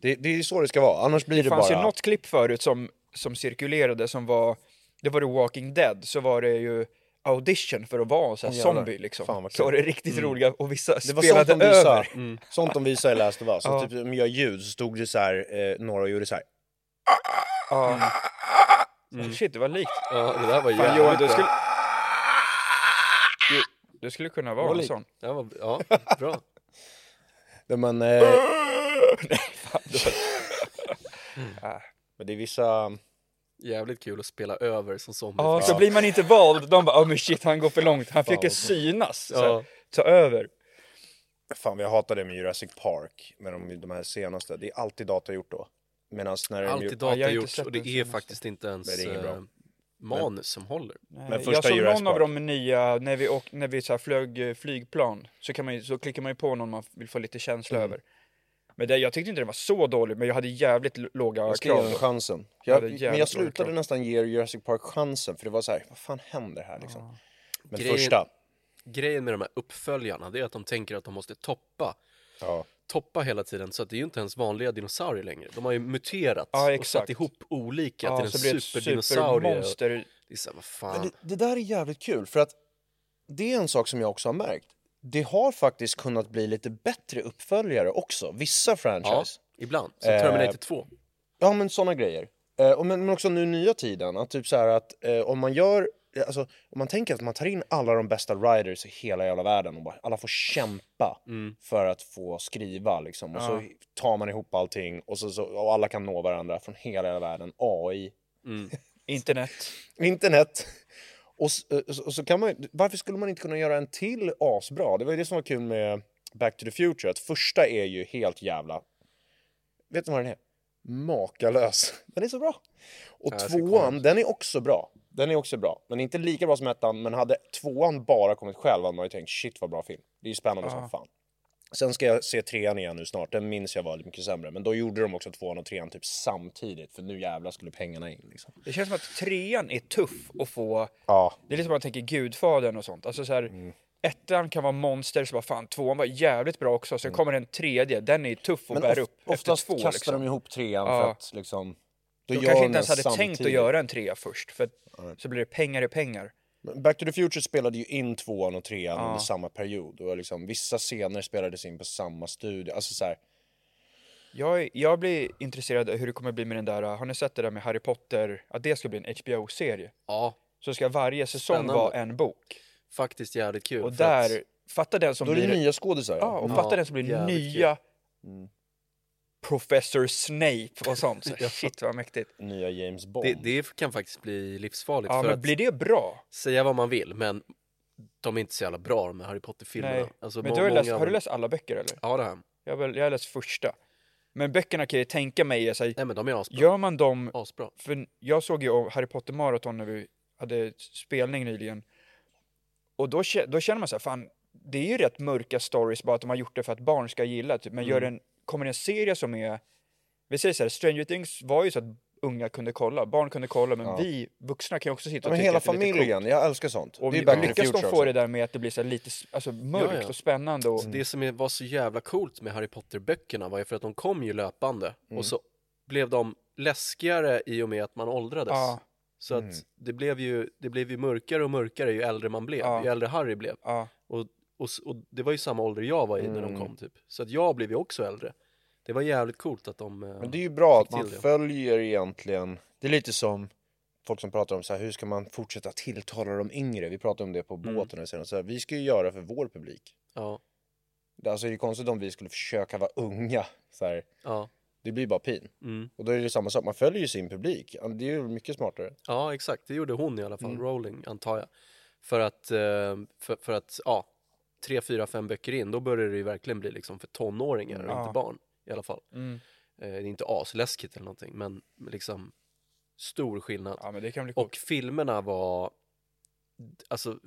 [SPEAKER 1] Det, det är ju så det ska vara, annars blir det,
[SPEAKER 4] Mm. Det fanns
[SPEAKER 1] bara...
[SPEAKER 4] ju något klipp förut som, som cirkulerade som var, det var The Walking Dead, så var det ju audition för att vara en sån här
[SPEAKER 1] Åh, jävlar.
[SPEAKER 4] zombie liksom.
[SPEAKER 1] Fan, vad kul. Mm.
[SPEAKER 4] så var det riktigt roliga och vissa
[SPEAKER 1] Det var sånt
[SPEAKER 4] spelade
[SPEAKER 1] de
[SPEAKER 4] över.
[SPEAKER 1] visade, sånt de visade i Last of Us. Så typ, de gör ljud, så stod det så här, eh, några och gjorde så här. Ah.
[SPEAKER 4] Ja.
[SPEAKER 1] Mm.
[SPEAKER 4] Ah, Shit, det var likt.
[SPEAKER 3] Ja, det där var
[SPEAKER 4] Fan, Johan,
[SPEAKER 3] jävligt
[SPEAKER 4] du
[SPEAKER 3] bra.
[SPEAKER 4] skulle... Du, du skulle kunna vara liksom. en
[SPEAKER 1] <laughs>
[SPEAKER 4] sån.
[SPEAKER 3] Det var, ja, bra.
[SPEAKER 1] Nej, Men, eh,
[SPEAKER 4] Ah.
[SPEAKER 1] men det är vissa...
[SPEAKER 3] Jävligt kul att spela över som zombie.
[SPEAKER 4] Ja, så blir man inte vald. De bara, oh, men shit, han går för långt. Han försöker synas. Så, här,
[SPEAKER 3] Ja.
[SPEAKER 4] Ta över.
[SPEAKER 1] Fan vad jag hatar det med Jurassic Park, med de, de här senaste. Det är alltid datagjort då. Medan när de
[SPEAKER 3] Alltid
[SPEAKER 4] Ja, jag har inte
[SPEAKER 3] datagjorts
[SPEAKER 4] sett
[SPEAKER 3] och det
[SPEAKER 4] den
[SPEAKER 3] är
[SPEAKER 4] senaste.
[SPEAKER 3] faktiskt inte ens
[SPEAKER 1] Nej, det är inget bra.
[SPEAKER 3] eh, manus som håller.
[SPEAKER 4] Men
[SPEAKER 1] första
[SPEAKER 4] jag såg
[SPEAKER 1] Jurassic
[SPEAKER 4] Eh, någon av
[SPEAKER 1] Park.
[SPEAKER 4] de nya, när vi, åk, när vi så här flög eh, flygplan, så, kan man ju, så klickar man ju på någon man vill få lite känsla
[SPEAKER 1] Mm.
[SPEAKER 4] över. Men det, jag tyckte inte den var så dålig, men jag hade jävligt l- låga
[SPEAKER 1] Jag ska ge
[SPEAKER 4] krav.
[SPEAKER 1] den
[SPEAKER 4] då.
[SPEAKER 1] chansen.
[SPEAKER 4] Ja,
[SPEAKER 1] Jag,
[SPEAKER 4] det är
[SPEAKER 1] men
[SPEAKER 4] jävligt
[SPEAKER 1] jag
[SPEAKER 4] dåligt
[SPEAKER 1] slutade
[SPEAKER 4] klart.
[SPEAKER 1] nästan ge Jurassic Park chansen för det var så här, vad fan händer här liksom? Men
[SPEAKER 3] Grejen-
[SPEAKER 1] första,
[SPEAKER 3] Grejen med de här uppföljarna det är att de tänker att de måste toppa
[SPEAKER 1] ja.
[SPEAKER 3] toppa hela tiden så att det är ju inte ens vanliga dinosaurier längre. De har ju muterat
[SPEAKER 4] Ja,
[SPEAKER 3] och
[SPEAKER 4] exakt.
[SPEAKER 3] satt ihop olika
[SPEAKER 4] Ja,
[SPEAKER 3] till en
[SPEAKER 4] så blir det ett
[SPEAKER 3] superdinosaurie. och-
[SPEAKER 4] supermonster.
[SPEAKER 3] Det är såhär, vad
[SPEAKER 1] Men
[SPEAKER 3] fan.
[SPEAKER 1] det, det där är jävligt kul för att det är en sak som jag också har märkt. Det har faktiskt kunnat bli lite bättre uppföljare också, vissa
[SPEAKER 3] ja,
[SPEAKER 1] franchise.
[SPEAKER 3] ibland. Som Terminator 2.
[SPEAKER 1] Ja, men såna grejer. Eh, och men, men också nu nya tiden, att typ så här att eh, om man gör alltså, om man tänker att man tar in alla de bästa writers i hela jävla världen och bara, alla får kämpa för att få skriva liksom. Och så tar man ihop allting och, så, så, och alla kan nå varandra från hela jävla världen. AI,
[SPEAKER 4] Internet.
[SPEAKER 1] internet. Och, s- och, så- och så kan man, varför skulle man inte kunna göra en till asbra? Det var ju det som var kul med Back to the Future, att första är ju helt jävla... Vet du vad den är? Makalös. <laughs> Den är så bra. Och
[SPEAKER 3] jag ska kolla
[SPEAKER 1] tvåan, den är också bra. Den är också bra. Den är inte lika bra som ettan, men hade tvåan bara kommit själv hade man ju tänkt shit vad bra film. Det är ju spännande som fan. Sen ska jag se trean igen nu snart, den minns jag var lite mycket sämre. Men då gjorde de också tvåan och trean typ samtidigt, för nu jävlar skulle pengarna in liksom.
[SPEAKER 4] Det känns som att trean är tuff att få.
[SPEAKER 1] Ja, Mm.
[SPEAKER 4] Det är lite som man tänker Gudfadern och sånt. Alltså så här, ettan kan vara monster, så bara fan, tvåan var jävligt bra också. Sen kommer en tredje, den är tuff att
[SPEAKER 1] Mm. Men
[SPEAKER 4] bära
[SPEAKER 1] of-
[SPEAKER 4] upp efter
[SPEAKER 1] oftast
[SPEAKER 4] två.
[SPEAKER 1] kastar
[SPEAKER 4] Liksom.
[SPEAKER 1] de ihop trean för
[SPEAKER 4] Ja.
[SPEAKER 1] att liksom...
[SPEAKER 4] De
[SPEAKER 1] då gör
[SPEAKER 4] kanske
[SPEAKER 1] den
[SPEAKER 4] inte ens hade tänkt att
[SPEAKER 1] samtidigt.
[SPEAKER 4] göra en trea först, för att så blir det pengar i pengar.
[SPEAKER 1] Men Back to the Future spelade ju in tvåan och trean under samma period. Och liksom, vissa scener spelades in på samma studio. Alltså så här,
[SPEAKER 4] Jag, är- jag blir intresserad av hur det kommer bli med den där, har ni sett det där med Harry Potter, att det ska bli en HBO-serie?
[SPEAKER 3] Ja,
[SPEAKER 4] Så ska varje säsong
[SPEAKER 3] Spännande.
[SPEAKER 4] vara en bok.
[SPEAKER 3] faktiskt jävligt kul.
[SPEAKER 4] Och
[SPEAKER 3] för att-
[SPEAKER 4] där, fatta den som
[SPEAKER 1] då är det
[SPEAKER 4] blir...
[SPEAKER 1] nya skådisar.
[SPEAKER 4] Ja, och
[SPEAKER 3] Ja,
[SPEAKER 4] fatta den som blir
[SPEAKER 3] jävligt Mm.
[SPEAKER 4] nya Professor Snape och sånt.
[SPEAKER 3] <laughs>
[SPEAKER 4] Så, shit vad mäktigt.
[SPEAKER 1] Mm. Nya James Bond.
[SPEAKER 3] det, det kan faktiskt bli livsfarligt
[SPEAKER 4] Ja,
[SPEAKER 3] för
[SPEAKER 4] men
[SPEAKER 3] att
[SPEAKER 4] blir det bra?
[SPEAKER 3] säga vad man vill, men de är inte så jävla bra de här Harry Potter-filmerna.
[SPEAKER 4] Nej.
[SPEAKER 3] Alltså,
[SPEAKER 4] men
[SPEAKER 3] må-
[SPEAKER 4] du har, ju
[SPEAKER 3] många
[SPEAKER 4] läst,
[SPEAKER 3] av
[SPEAKER 4] har du
[SPEAKER 3] dem-
[SPEAKER 4] läst alla böcker eller?
[SPEAKER 3] Ja, det har jag.
[SPEAKER 4] Jag har, väl, jag har läst första. Men böckerna kan jag tänka mig, är så här,
[SPEAKER 3] Nej, men de är asbra.
[SPEAKER 4] gör man dem
[SPEAKER 3] Asbra.
[SPEAKER 4] För jag såg ju om Harry Potter maraton när vi hade spelning nyligen. Och då, kä- då känner man så här, fan, det är ju rätt mörka stories bara att de har gjort det för att barn ska gilla. Typ. Men gör
[SPEAKER 1] Mm.
[SPEAKER 4] en, kommer det en serie som är, vi säger så här, Stranger Things var ju så att unga kunde kolla, barn kunde kolla, men vi vuxna kan ju också
[SPEAKER 1] ja,
[SPEAKER 4] sitta och
[SPEAKER 1] men
[SPEAKER 4] tycka
[SPEAKER 1] hela
[SPEAKER 4] att det är lite coolt.
[SPEAKER 1] familjen, jag älskar sånt.
[SPEAKER 4] Och
[SPEAKER 1] det är Back to the
[SPEAKER 4] lyckas de
[SPEAKER 1] Future alltså.
[SPEAKER 4] få
[SPEAKER 1] också.
[SPEAKER 4] det där med att det blir så här lite s- alltså, mörkt
[SPEAKER 3] Ja, ja.
[SPEAKER 4] och spännande
[SPEAKER 1] Mm.
[SPEAKER 4] och
[SPEAKER 3] Det som är- var så jävla coolt med Harry Potter-böckerna var ju för att de kom ju löpande
[SPEAKER 1] Mm.
[SPEAKER 3] och så blev de läskigare i och med att man åldrades.
[SPEAKER 4] Ja.
[SPEAKER 3] Så
[SPEAKER 1] Mm.
[SPEAKER 3] att det, blev ju, det blev ju mörkare och mörkare ju äldre man blev, ju äldre Harry blev.
[SPEAKER 4] Ja.
[SPEAKER 3] Och, och, s- och det var ju samma ålder jag var i när
[SPEAKER 1] Mm.
[SPEAKER 3] de kom typ. Så att jag blev ju också äldre. Det var jävligt coolt att de... eh,
[SPEAKER 1] Men det är ju bra att
[SPEAKER 3] till
[SPEAKER 1] man
[SPEAKER 3] det.
[SPEAKER 1] följer egentligen, det är lite som folk som pratar om så här, hur ska man fortsätta tilltala de yngre? Vi pratade om det på
[SPEAKER 4] Mm.
[SPEAKER 1] båten och sen, så här, vi ska ju göra för vår publik.
[SPEAKER 3] Ja,
[SPEAKER 1] Det- Alltså det är konstigt om vi skulle försöka vara unga. Så här,
[SPEAKER 3] ja,
[SPEAKER 1] det blir bara pin.
[SPEAKER 3] Mm.
[SPEAKER 1] Och då är det samma sak, man följer ju sin publik. Ja, Det är ju mycket smartare.
[SPEAKER 3] ja, exakt. Det gjorde hon i alla fall, Rowling, antar jag. För att, eh, för, för att, ja, tre, fyra, fem böcker in, då börjar det ju verkligen bli liksom för tonåringar och inte barn i alla fall. Eh, det är inte asläskigt eller någonting, men liksom stor skillnad.
[SPEAKER 4] ja, men det kan bli coolt.
[SPEAKER 3] Och filmerna var, alltså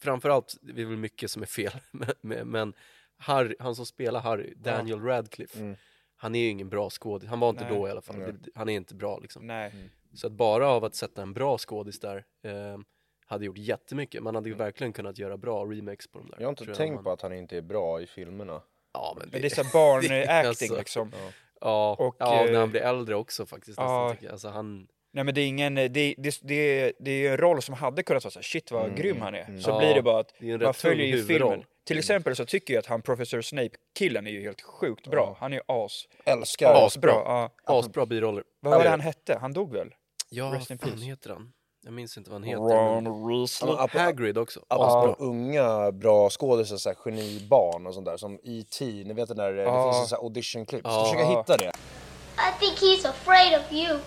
[SPEAKER 3] framförallt, det är väl mycket som är fel, <laughs> men- men, men Harry, han som spelar Harry, Daniel Radcliffe, han är ju ingen bra skådis, han var inte då i alla fall, Det- Mm. han är inte bra liksom.
[SPEAKER 4] Nej.
[SPEAKER 1] Mm.
[SPEAKER 3] Så att bara av att sätta en bra skådis där eh, hade gjort jättemycket, man hade
[SPEAKER 4] Mm.
[SPEAKER 3] ju verkligen kunnat göra bra remakes på de där.
[SPEAKER 1] Jag har inte
[SPEAKER 3] tror
[SPEAKER 1] tänkt
[SPEAKER 3] man-
[SPEAKER 1] på att han inte är bra i filmerna.
[SPEAKER 3] Ja, men det,
[SPEAKER 4] Men det är så
[SPEAKER 1] <laughs>
[SPEAKER 4] här barn-acting
[SPEAKER 3] Alltså.
[SPEAKER 4] liksom.
[SPEAKER 3] ja,
[SPEAKER 4] och,
[SPEAKER 3] ja, när
[SPEAKER 4] eh,
[SPEAKER 3] han blir äldre också faktiskt. Nästan,
[SPEAKER 4] ja.
[SPEAKER 3] tycker jag. Alltså, han,
[SPEAKER 4] Nej men det är ingen, eh, det, det, det, det är en roll som hade kunnat vara såhär, shit
[SPEAKER 3] Mm,
[SPEAKER 4] vad grym han är. Så
[SPEAKER 3] Ja,
[SPEAKER 4] blir det bara att
[SPEAKER 3] det är en
[SPEAKER 4] man
[SPEAKER 3] rätt tung
[SPEAKER 4] följer ju
[SPEAKER 3] huvudroll. Mm.
[SPEAKER 4] filmen. Till exempel så tycker jag att han Professor Snape-killen är ju helt sjukt bra. Han är ju as.
[SPEAKER 1] Älskar!
[SPEAKER 4] Asbra. Ja.
[SPEAKER 3] asbra biroller.
[SPEAKER 4] Vad var det han hette? Han dog väl?
[SPEAKER 3] Ja, vad
[SPEAKER 4] Rest in
[SPEAKER 3] fan
[SPEAKER 4] peace.
[SPEAKER 3] heter han? Jag minns inte vad han heter. men-
[SPEAKER 4] Weasley.
[SPEAKER 1] Ap-
[SPEAKER 3] Hagrid också.
[SPEAKER 1] Apropå unga bra skådisar, så här, genibarn och sånt där som E.T. Ni vet den där, det
[SPEAKER 4] Ja.
[SPEAKER 1] finns en sån här audition-klipp. Ska försöka hitta det.
[SPEAKER 6] I think he's afraid of you.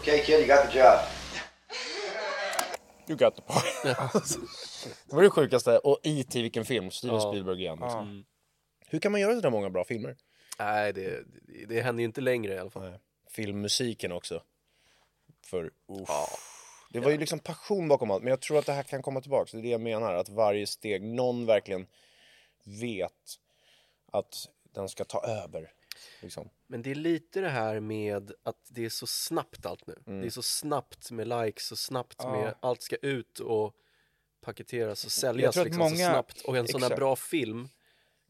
[SPEAKER 7] Okay, kid, you got the job.
[SPEAKER 1] You got the part. <laughs> det var det sjukaste. Och E.T. vilken film, Steven Spielberg igen. Liksom. Hur kan man göra så där många bra filmer?
[SPEAKER 3] Nej, det, det- det händer ju inte längre i alla fall.
[SPEAKER 1] Filmmusiken också. För uff. Det var ju liksom passion bakom allt, men jag tror att det här kan komma tillbaka. Det är det jag menar, att varje steg, någon verkligen vet att den ska ta över. Liksom.
[SPEAKER 3] Men det är lite det här med att det är så snabbt allt nu.
[SPEAKER 4] Mm.
[SPEAKER 3] Det är så snabbt med likes och snabbt med allt ska ut och paketeras och säljas
[SPEAKER 4] tror att
[SPEAKER 3] liksom så
[SPEAKER 4] många-
[SPEAKER 3] snabbt. Och en sån här
[SPEAKER 4] exakt.
[SPEAKER 3] bra film,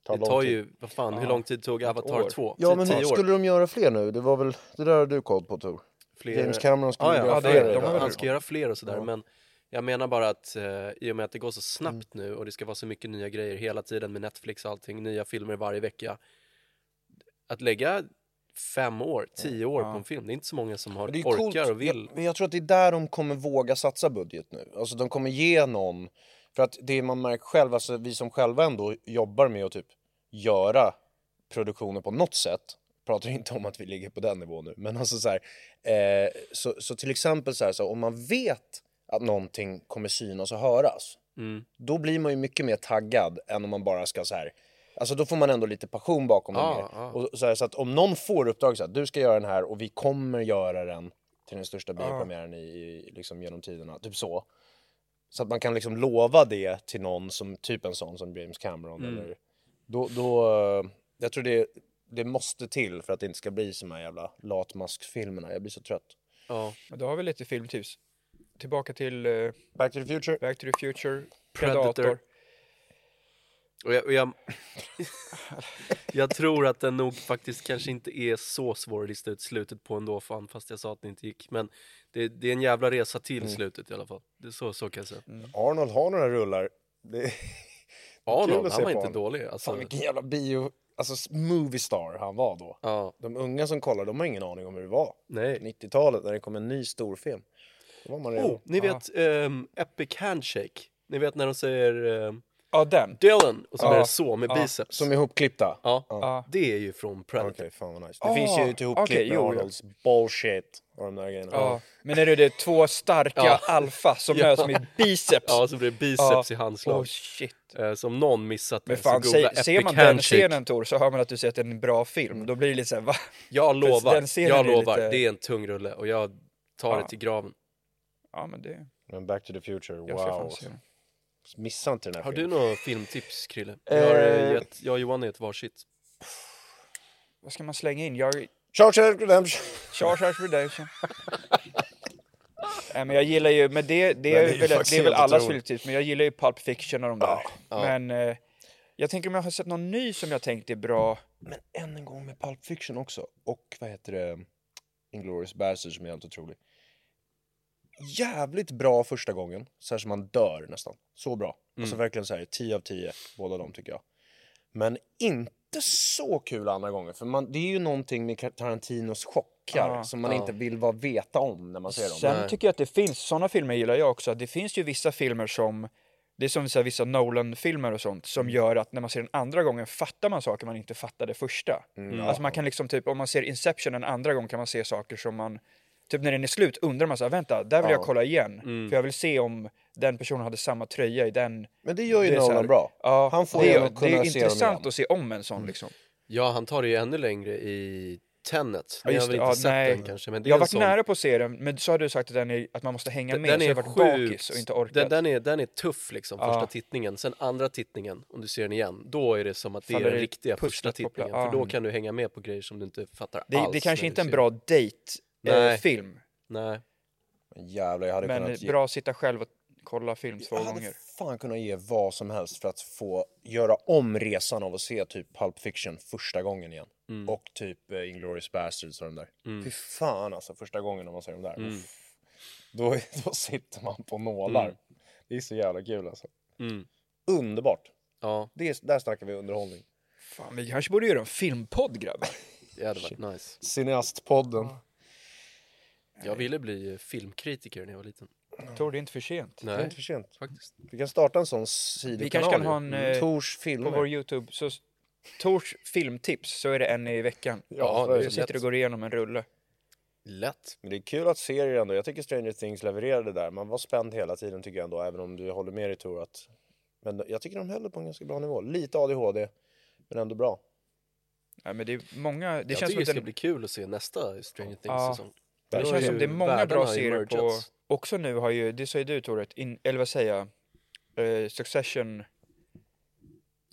[SPEAKER 1] Tar
[SPEAKER 3] det
[SPEAKER 1] lång
[SPEAKER 3] tar
[SPEAKER 1] tid.
[SPEAKER 3] ju, vad fan, hur lång tid tog Avatar
[SPEAKER 4] år.
[SPEAKER 3] 2?
[SPEAKER 1] Ja,
[SPEAKER 3] Tio-
[SPEAKER 1] men
[SPEAKER 3] tio
[SPEAKER 1] hur
[SPEAKER 3] år.
[SPEAKER 1] skulle de göra fler nu? Det var väl det där du koll på Tor?
[SPEAKER 3] Fler-
[SPEAKER 1] James Cameron skulle
[SPEAKER 3] ja,
[SPEAKER 1] göra
[SPEAKER 3] ja,
[SPEAKER 4] det-
[SPEAKER 1] fler.
[SPEAKER 4] de har väl-
[SPEAKER 3] Han ska göra fler och sådär, men jag menar bara att eh, i och med att det går så
[SPEAKER 1] Mm.
[SPEAKER 3] snabbt nu och det ska vara så mycket nya grejer hela tiden med Netflix och allting, nya filmer varje vecka. Att lägga fem år, tio år på en film. Det är inte så många som har
[SPEAKER 1] Det är ju
[SPEAKER 3] orkar
[SPEAKER 1] coolt.
[SPEAKER 3] och vill.
[SPEAKER 1] Jag, men jag tror att det är där de kommer våga satsa budget nu. Alltså de kommer ge någon, för att det man märker själv, alltså vi som själva ändå jobbar med att typ göra produktioner på något sätt, pratar inte om att vi ligger på den nivån nu, men alltså så här, eh, så, så till exempel så här, så om man vet att någonting kommer synas och höras, då blir man ju mycket mer taggad än om man bara ska så här Alltså då får man ändå lite passion bakom
[SPEAKER 3] Ja,
[SPEAKER 1] det mer.
[SPEAKER 3] ja.
[SPEAKER 1] Och så, här, så att om någon får uppdraget så att du ska göra den här och vi kommer göra den till den största biopremiären i, i, liksom genom tiderna, typ så. Så att man kan liksom lova det till någon som typ en sån som James Cameron eller då, då eh, jag tror det, det måste till för att det inte ska bli som de här jävla latmaskfilmerna. Jag blir så trött.
[SPEAKER 3] Ja.
[SPEAKER 4] Men då har vi lite filmtips. Tillbaka till eh,
[SPEAKER 1] Back to the future.
[SPEAKER 4] Back to the Future,
[SPEAKER 3] Predator.
[SPEAKER 4] Predator.
[SPEAKER 3] Och jag, och jag, <laughs> jag tror att den nog faktiskt kanske inte är så svår att lista ut slutet på ändå, fan, fast jag sa att det inte gick. Men det, det är en jävla resa
[SPEAKER 1] Mm.
[SPEAKER 3] till slutet i alla fall. Det, är så, så kan jag säga.
[SPEAKER 1] Arnold har några rullar. Det... Kul
[SPEAKER 3] Arnold,
[SPEAKER 1] att
[SPEAKER 3] han
[SPEAKER 1] se
[SPEAKER 3] var
[SPEAKER 1] på
[SPEAKER 3] inte
[SPEAKER 1] honom.
[SPEAKER 3] dålig. Alltså,
[SPEAKER 1] Fan vilken jävla bio, alltså movie star han var då.
[SPEAKER 3] ja,
[SPEAKER 1] De unga som kollar, de har ingen aning om hur det var.
[SPEAKER 3] nej.
[SPEAKER 1] 90-talet när det kom en ny storfilm. Då var man redan...
[SPEAKER 3] Oh, ni vet ehm, Epic Handshake? Ni vet när de säger ehm,
[SPEAKER 4] Ja, den.
[SPEAKER 3] Dylan och så
[SPEAKER 4] Ja.
[SPEAKER 3] är det så med biceps?
[SPEAKER 1] Som är ihopklippta.
[SPEAKER 3] Ja.
[SPEAKER 4] Ja.
[SPEAKER 3] det är ju från
[SPEAKER 1] Okej,
[SPEAKER 3] Predator.
[SPEAKER 1] fan vad nice. Det finns ju ett ihopklipp
[SPEAKER 4] okej,
[SPEAKER 1] med
[SPEAKER 4] jo, jo.
[SPEAKER 1] Arnolds bullshit och de där grejerna.
[SPEAKER 4] Ja. Men är det, det två starka
[SPEAKER 3] Ja.
[SPEAKER 4] alfa som
[SPEAKER 3] Ja.
[SPEAKER 4] möts med biceps?
[SPEAKER 3] Ja, så blir det biceps i handslag.
[SPEAKER 4] Oh shit.
[SPEAKER 3] Eh, som någon missat
[SPEAKER 4] Men
[SPEAKER 3] med
[SPEAKER 4] fan,
[SPEAKER 3] så Alltså, googla
[SPEAKER 4] se, ser
[SPEAKER 3] Epic
[SPEAKER 4] man den
[SPEAKER 3] Handshake.
[SPEAKER 4] scenen Tor så hör man att du säger att det är en bra film. Då blir det lite såhär, va?
[SPEAKER 3] Jag
[SPEAKER 4] För
[SPEAKER 3] lovar,
[SPEAKER 4] den scenen
[SPEAKER 3] jag
[SPEAKER 4] är
[SPEAKER 3] lovar.
[SPEAKER 4] lite-
[SPEAKER 3] Det är en tung rulle och jag tar det till graven.
[SPEAKER 4] Ja men det,
[SPEAKER 1] Men Back to the Future,
[SPEAKER 4] jag ska
[SPEAKER 1] wow.
[SPEAKER 4] fan se den.
[SPEAKER 1] Missa inte den här
[SPEAKER 3] Har du
[SPEAKER 1] filmen.
[SPEAKER 3] några filmtips, Krille? Jag, har, eh, gett, jag och Johan har gett varsitt.
[SPEAKER 4] Vad ska man slänga in? Jag,
[SPEAKER 1] Shawshank Redemption!
[SPEAKER 4] Chargers Redemption. Nej men jag gillar ju, men det, det, är,
[SPEAKER 1] är ju
[SPEAKER 4] väl,
[SPEAKER 1] faktiskt
[SPEAKER 4] det är väl
[SPEAKER 1] helt
[SPEAKER 4] allas
[SPEAKER 1] otroligt.
[SPEAKER 4] filmtips, men jag gillar ju Pulp Fiction och de där. Men eh, jag tänker om jag har sett någon ny som jag tänkt är bra.
[SPEAKER 1] Men än en gång med Pulp Fiction också. Och vad heter det? Inglourious Basterds som är helt otrolig. Jävligt bra första gången. Så här som man dör nästan. Så bra. Alltså
[SPEAKER 4] Mm.
[SPEAKER 1] verkligen så här 10 av 10. Båda de tycker jag. Men inte så kul andra gången. För man, det är ju någonting med Tarantinos chockar
[SPEAKER 4] Ja,
[SPEAKER 1] som man inte vill vara veta om när man ser dem.
[SPEAKER 4] Sen tycker jag att det finns, sådana filmer gillar jag också, det finns ju vissa filmer som det är som så här, vissa Nolan-filmer och sånt som
[SPEAKER 1] Mm.
[SPEAKER 4] gör att när man ser den andra gången fattar man saker man inte fattade första.
[SPEAKER 1] Mm.
[SPEAKER 4] Alltså man kan liksom typ, om man ser Inception en andra gång kan man se saker som man, typ när den är slut undrar man så här, vänta, där vill jag kolla igen. För jag vill se om den personen hade samma tröja i den.
[SPEAKER 1] Men det gör ju
[SPEAKER 4] är så
[SPEAKER 1] Nolan
[SPEAKER 4] här-
[SPEAKER 1] bra.
[SPEAKER 4] Ja,
[SPEAKER 1] Han får
[SPEAKER 4] det,
[SPEAKER 1] ju
[SPEAKER 4] är-
[SPEAKER 1] kunna
[SPEAKER 4] det
[SPEAKER 1] se
[SPEAKER 4] är
[SPEAKER 1] dem igen. Mm.
[SPEAKER 4] intressant att se om en sån liksom.
[SPEAKER 3] Ja, han tar det ju ännu längre i Tenet. Ni har
[SPEAKER 4] just
[SPEAKER 3] väl
[SPEAKER 4] det.
[SPEAKER 3] inte
[SPEAKER 4] Ja,
[SPEAKER 3] sett
[SPEAKER 4] nej.
[SPEAKER 3] den kanske, men det är
[SPEAKER 4] Jag har
[SPEAKER 3] en
[SPEAKER 4] varit
[SPEAKER 3] sån...
[SPEAKER 4] nära på att se den, men så har du sagt att, den är, att man måste hänga med,
[SPEAKER 3] Den
[SPEAKER 4] så
[SPEAKER 3] är
[SPEAKER 4] jag har varit
[SPEAKER 3] sjukt...
[SPEAKER 4] bakis och inte orkat.
[SPEAKER 3] den, den, är, den är tuff liksom, första tittningen. Sen andra tittningen, om du ser den igen, då är det som att det
[SPEAKER 4] Faller
[SPEAKER 3] är den
[SPEAKER 4] det
[SPEAKER 3] riktiga
[SPEAKER 4] pusslet
[SPEAKER 3] första
[SPEAKER 4] på plats.
[SPEAKER 3] tittningen.
[SPEAKER 4] Ja.
[SPEAKER 3] För då kan du hänga med på grejer som du inte fattar
[SPEAKER 4] Det,
[SPEAKER 3] alls.
[SPEAKER 4] det kanske
[SPEAKER 3] när
[SPEAKER 4] inte är
[SPEAKER 3] du
[SPEAKER 4] en
[SPEAKER 3] ser
[SPEAKER 4] bra
[SPEAKER 3] Nej.
[SPEAKER 4] dejt-film,
[SPEAKER 3] den. Nej.
[SPEAKER 1] Men Jävlar, jag hade
[SPEAKER 4] men
[SPEAKER 1] kunnat... ge-
[SPEAKER 4] bra att sitta själv och kolla film två
[SPEAKER 1] jag
[SPEAKER 4] gånger.
[SPEAKER 1] hade fan kunnat ge vad som helst för att få göra om resan av att se typ Pulp Fiction första gången igen.
[SPEAKER 4] Mm.
[SPEAKER 1] Och typ eh, Inglourious Basterds och de där. Fy fan alltså, första gången när man ser de
[SPEAKER 4] Mm.
[SPEAKER 1] där. Uff. Då, <laughs> då sitter man på nålar.
[SPEAKER 4] Mm.
[SPEAKER 1] Det är så jävla kul alltså.
[SPEAKER 3] Mm.
[SPEAKER 1] Underbart!
[SPEAKER 3] Ja,
[SPEAKER 1] Det är, där snackar vi underhållning.
[SPEAKER 4] Fan, vi kanske borde göra en filmpodd grabbar.
[SPEAKER 3] det hade varit nice.
[SPEAKER 1] Cineastpodden.
[SPEAKER 3] Jag ville bli eh, filmkritiker när jag var liten.
[SPEAKER 4] Tor, det är inte för sent.
[SPEAKER 1] Det är inte
[SPEAKER 3] Nej,
[SPEAKER 1] för sent.
[SPEAKER 3] faktiskt.
[SPEAKER 1] Vi kan starta en sån sidokanal.
[SPEAKER 4] Vi kanske kan ha en,
[SPEAKER 1] ju.
[SPEAKER 4] eh,
[SPEAKER 1] Tors
[SPEAKER 4] På
[SPEAKER 1] filmer.
[SPEAKER 4] vår Youtube, så Tors filmtips, så är det en i veckan.
[SPEAKER 3] Ja,
[SPEAKER 4] så
[SPEAKER 3] det är
[SPEAKER 4] sitter
[SPEAKER 3] lätt.
[SPEAKER 4] du och går igenom en rulle.
[SPEAKER 3] Lätt.
[SPEAKER 1] Men det är kul att serier ändå, jag tycker Stranger Things levererade där. Man var spänd hela tiden tycker jag ändå, även om du håller med dig Tor att... Men jag tycker de höll det på en ganska bra nivå. Lite ADHD, men ändå bra.
[SPEAKER 4] Ja, men det är många, det
[SPEAKER 3] jag tycker
[SPEAKER 4] känns som
[SPEAKER 3] det
[SPEAKER 4] att
[SPEAKER 3] ska
[SPEAKER 4] den,
[SPEAKER 3] bli kul att se nästa Stranger
[SPEAKER 4] Ja.
[SPEAKER 3] Things-säsong.
[SPEAKER 4] det,
[SPEAKER 1] Där har
[SPEAKER 4] känns
[SPEAKER 1] ju
[SPEAKER 4] som det är många
[SPEAKER 3] världarna
[SPEAKER 4] bra
[SPEAKER 3] har
[SPEAKER 4] serier på...
[SPEAKER 3] emergats.
[SPEAKER 4] Också nu har ju, det sa ju du Tor, ett in, eller vad säger jag? Eh, Succession.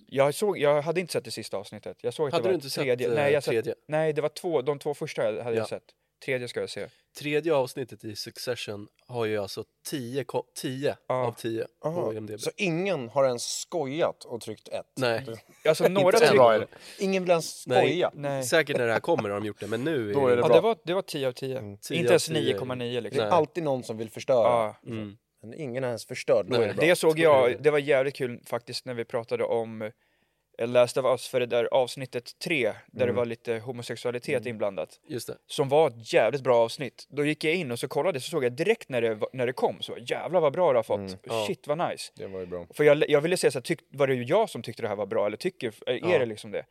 [SPEAKER 4] Jag, såg, jag hade inte sett det sista avsnittet. Jag såg att
[SPEAKER 3] Hade
[SPEAKER 4] det var
[SPEAKER 3] du inte sett,
[SPEAKER 4] tredje.
[SPEAKER 3] eh,
[SPEAKER 4] nej, jag
[SPEAKER 3] tredje?
[SPEAKER 4] Sett, nej, det var två, de två första hade
[SPEAKER 3] Ja.
[SPEAKER 4] jag sett. Tredje ska jag se.
[SPEAKER 3] Tredje avsnittet i Succession har ju alltså 10, ko- 10 av 10 på IMDB.
[SPEAKER 1] Så ingen har ens skojat och tryckt ett?
[SPEAKER 3] Nej, <laughs>
[SPEAKER 4] Alltså några
[SPEAKER 3] än.
[SPEAKER 4] tryck...
[SPEAKER 1] det. Ingen vill ens
[SPEAKER 3] nej,
[SPEAKER 1] skoja?
[SPEAKER 4] Nej.
[SPEAKER 3] säkert när det här kommer har de gjort det, men nu
[SPEAKER 1] Då är det
[SPEAKER 4] Ja,
[SPEAKER 1] bra.
[SPEAKER 4] det var, det var 10 av 10.
[SPEAKER 3] 10
[SPEAKER 4] Inte
[SPEAKER 3] Mm, av
[SPEAKER 4] ens
[SPEAKER 3] 10.
[SPEAKER 4] 9,9
[SPEAKER 1] Det
[SPEAKER 4] liksom.
[SPEAKER 1] är
[SPEAKER 3] Nej.
[SPEAKER 1] alltid någon som vill förstöra.
[SPEAKER 4] Ja.
[SPEAKER 3] Mm.
[SPEAKER 1] Men ingen har ens förstört, då
[SPEAKER 3] Nej.
[SPEAKER 1] är det bra.
[SPEAKER 4] Det såg
[SPEAKER 3] Så är
[SPEAKER 4] jag, det var jävligt kul faktiskt när vi pratade om eh, Last of Us för det där avsnittet 3 där
[SPEAKER 3] Mm.
[SPEAKER 4] det var lite homosexualitet inblandat
[SPEAKER 3] Just det.
[SPEAKER 4] som var ett jävligt bra avsnitt. Då gick jag in och så kollade så såg jag direkt när det, när det kom så jävlar vad bra det har fått. Shit vad nice.
[SPEAKER 1] Mm, Det var ju bra.
[SPEAKER 4] För jag, jag ville se så här, tyck, var det ju jag som tyckte det här var bra eller tycker, är det liksom det?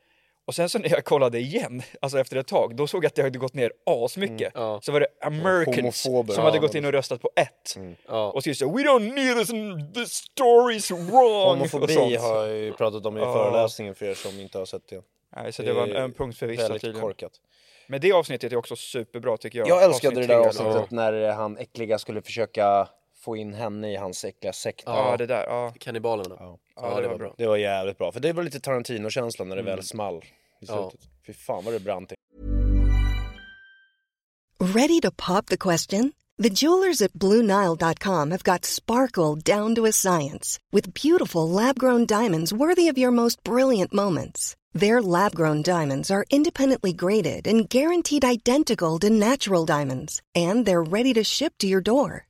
[SPEAKER 4] Och sen så när jag kollade igen, <laughs> alltså efter ett tag, då såg jag att det hade gått ner asmycket.
[SPEAKER 3] Ja.
[SPEAKER 4] Så var det Americans
[SPEAKER 1] Mm, Homofober.
[SPEAKER 4] som hade
[SPEAKER 1] Ja,
[SPEAKER 4] gått
[SPEAKER 1] men- Mm.
[SPEAKER 4] in och röstat på ett.
[SPEAKER 3] Ja.
[SPEAKER 4] Och så just det, we don't need this, and the story is wrong! och
[SPEAKER 1] Homofobi
[SPEAKER 4] sånt.
[SPEAKER 1] har jag ju pratat om i föreläsningen för er som inte har sett det.
[SPEAKER 4] Nej, så det var en,
[SPEAKER 1] är
[SPEAKER 4] en punkt för vissa
[SPEAKER 1] Väldigt
[SPEAKER 4] tydligen.
[SPEAKER 1] korkat.
[SPEAKER 4] Men det avsnittet är också superbra tycker jag.
[SPEAKER 1] Jag älskade det
[SPEAKER 4] Avsnitt
[SPEAKER 1] där
[SPEAKER 4] tre,
[SPEAKER 1] avsnittet
[SPEAKER 4] eller?
[SPEAKER 1] när eh, han äckliga skulle försöka få in henne i hans äckliga sekt.
[SPEAKER 4] Ja, det där. Ja.
[SPEAKER 3] Kannibalerna.
[SPEAKER 1] Ja.
[SPEAKER 4] Ja, det var bra. Mm.
[SPEAKER 1] Det var jävligt bra, för det var lite Tarantino-känslan när det väl small i
[SPEAKER 3] Ja.
[SPEAKER 1] slutet. Fy fan vad det brant
[SPEAKER 7] Ready to pop the question? The jewelers at BlueNile.com have got sparkle down to a science with beautiful lab grown diamonds worthy of your most brilliant moments. Their lab grown diamonds are independently graded and guaranteed identical to natural diamonds, and they're ready to ship to your door.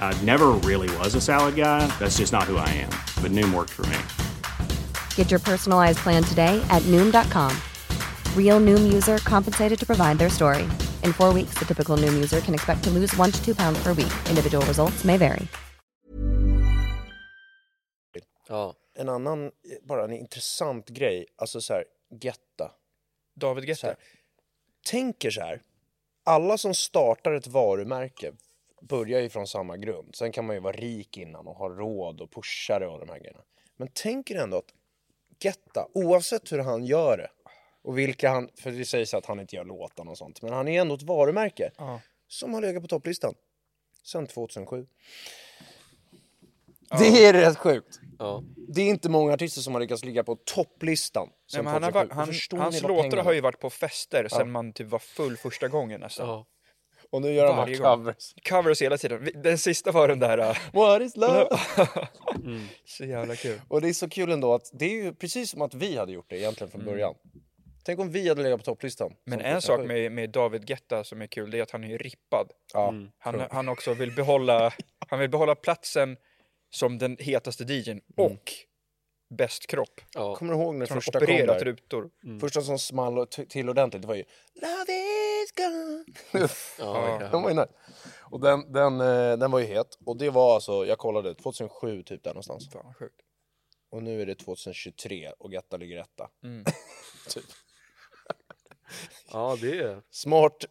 [SPEAKER 8] I never really was a salad guy. That's just not who I am. But Noom worked for me.
[SPEAKER 9] Get your personalized plan today at Noom.com. Real Noom user compensated to provide their story. In four weeks, the typical Noom user can expect to lose one to two pounds per week. Individual results may vary.
[SPEAKER 3] Ja.
[SPEAKER 1] En annan, eh, bara en intressant grej, alltså så här, Getta.
[SPEAKER 4] David
[SPEAKER 1] Så
[SPEAKER 4] Guetta.
[SPEAKER 1] här, tänker så här, alla som startar ett varumärke börjar ju från samma grund. Sen kan man ju vara rik innan och ha råd och pusha det och de här grejerna. Men tänker ändå att Getta, oavsett hur han gör det och vilka han, för det sägs att han inte gör låtarna och sånt, men han är ändå ett varumärke som har legat på topplistan sedan 2007. Det är rätt sjukt.
[SPEAKER 3] Ja.
[SPEAKER 1] Det är inte många artister som har lyckats ligga på topplistan
[SPEAKER 4] Nej,
[SPEAKER 1] sedan
[SPEAKER 4] men han
[SPEAKER 1] 2007.
[SPEAKER 4] har, varit- han,
[SPEAKER 1] Förstår ni
[SPEAKER 4] hans
[SPEAKER 1] vad
[SPEAKER 4] låtar
[SPEAKER 1] pengarna-
[SPEAKER 4] har ju varit på fester sen man typ var full första gången nästan.
[SPEAKER 3] ja.
[SPEAKER 1] Och nu gör han bara
[SPEAKER 4] varje gång.
[SPEAKER 1] covers.
[SPEAKER 4] Covers hela tiden. Vi- Den sista var den där... äh,
[SPEAKER 1] What is love?
[SPEAKER 4] så jävla kul.
[SPEAKER 1] Och det är så kul ändå att det är ju precis som att vi hade gjort det egentligen från början. Tänk om vi hade legat på topplistan.
[SPEAKER 4] Men
[SPEAKER 1] Som
[SPEAKER 4] en
[SPEAKER 1] tusen
[SPEAKER 4] sak
[SPEAKER 1] sju.
[SPEAKER 4] med, med David Guetta som är kul, det är att han är ju rippad.
[SPEAKER 1] Ja.
[SPEAKER 4] Han, han också vill behålla, han vill behålla platsen som den hetaste DJn och bäst kropp.
[SPEAKER 3] Ja.
[SPEAKER 1] Kommer du ihåg när
[SPEAKER 4] Från
[SPEAKER 1] Mm. första kom
[SPEAKER 4] opererat
[SPEAKER 1] där?
[SPEAKER 4] rutor.
[SPEAKER 1] Första som small och t- till ordentligt, det var ju Love is gone. <laughs>
[SPEAKER 3] Ja.
[SPEAKER 1] den var ju nice. Och den, den, eh, den var ju het. Och det var alltså, jag kollade, 2007 typ där någonstans.
[SPEAKER 4] Fan, vad sjukt.
[SPEAKER 1] Och nu är det 2023 och Getta ligger etta.
[SPEAKER 3] ja, det är...
[SPEAKER 1] Smart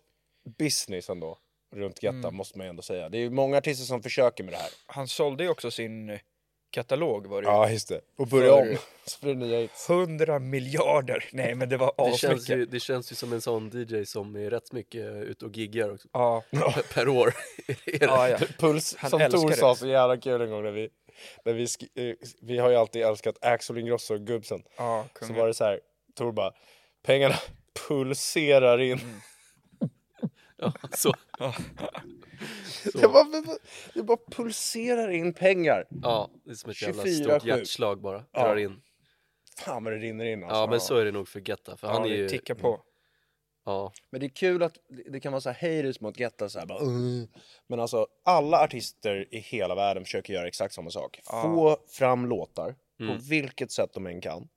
[SPEAKER 1] business ändå, runt Getta måste man ju ändå säga. Det är ju många artister som försöker med det här.
[SPEAKER 4] Han sålde ju också sin eh, katalog var det ju.
[SPEAKER 1] Ja, just det. Och börja om. Så blir det nya hits.
[SPEAKER 4] 100 miljarder! Nej men det var
[SPEAKER 3] Det känns,
[SPEAKER 4] asmycket.
[SPEAKER 3] ju, det känns ju som en sån DJ som är rätt mycket ute och giggar också.
[SPEAKER 4] Ja,
[SPEAKER 3] Per, per år. Är
[SPEAKER 1] <laughs>
[SPEAKER 3] det-
[SPEAKER 4] ja, ja.
[SPEAKER 1] Puls,
[SPEAKER 4] Han
[SPEAKER 1] som
[SPEAKER 4] älskar
[SPEAKER 1] Tor
[SPEAKER 4] det.
[SPEAKER 1] sa så jävla kul en gång när vi, när vi, sk- eh, vi har ju alltid älskat Axel Ingrosso och Gubbsen.
[SPEAKER 4] ja
[SPEAKER 1] så
[SPEAKER 4] kungen.
[SPEAKER 1] var det så här, Tor bara, pengarna pulserar in.
[SPEAKER 3] Ja, så.
[SPEAKER 1] Det, bara, det bara pulserar in pengar.
[SPEAKER 3] Ja, det är som ett jävla
[SPEAKER 1] 24-7.
[SPEAKER 3] stort hjärtslag bara. Drar in.
[SPEAKER 1] Fan vad det rinner in alltså.
[SPEAKER 3] Ja, men så är det nog för Getta. För han
[SPEAKER 4] Ja,
[SPEAKER 3] är
[SPEAKER 4] det
[SPEAKER 3] ju...
[SPEAKER 4] tickar på.
[SPEAKER 3] Ja,
[SPEAKER 1] Men det är kul att det- det kan vara så här haters mot Getta så här bara "Ugh." Men alltså alla artister i hela världen försöker göra exakt samma sak. Få fram låtar
[SPEAKER 3] Mm.
[SPEAKER 1] på vilket sätt de än kan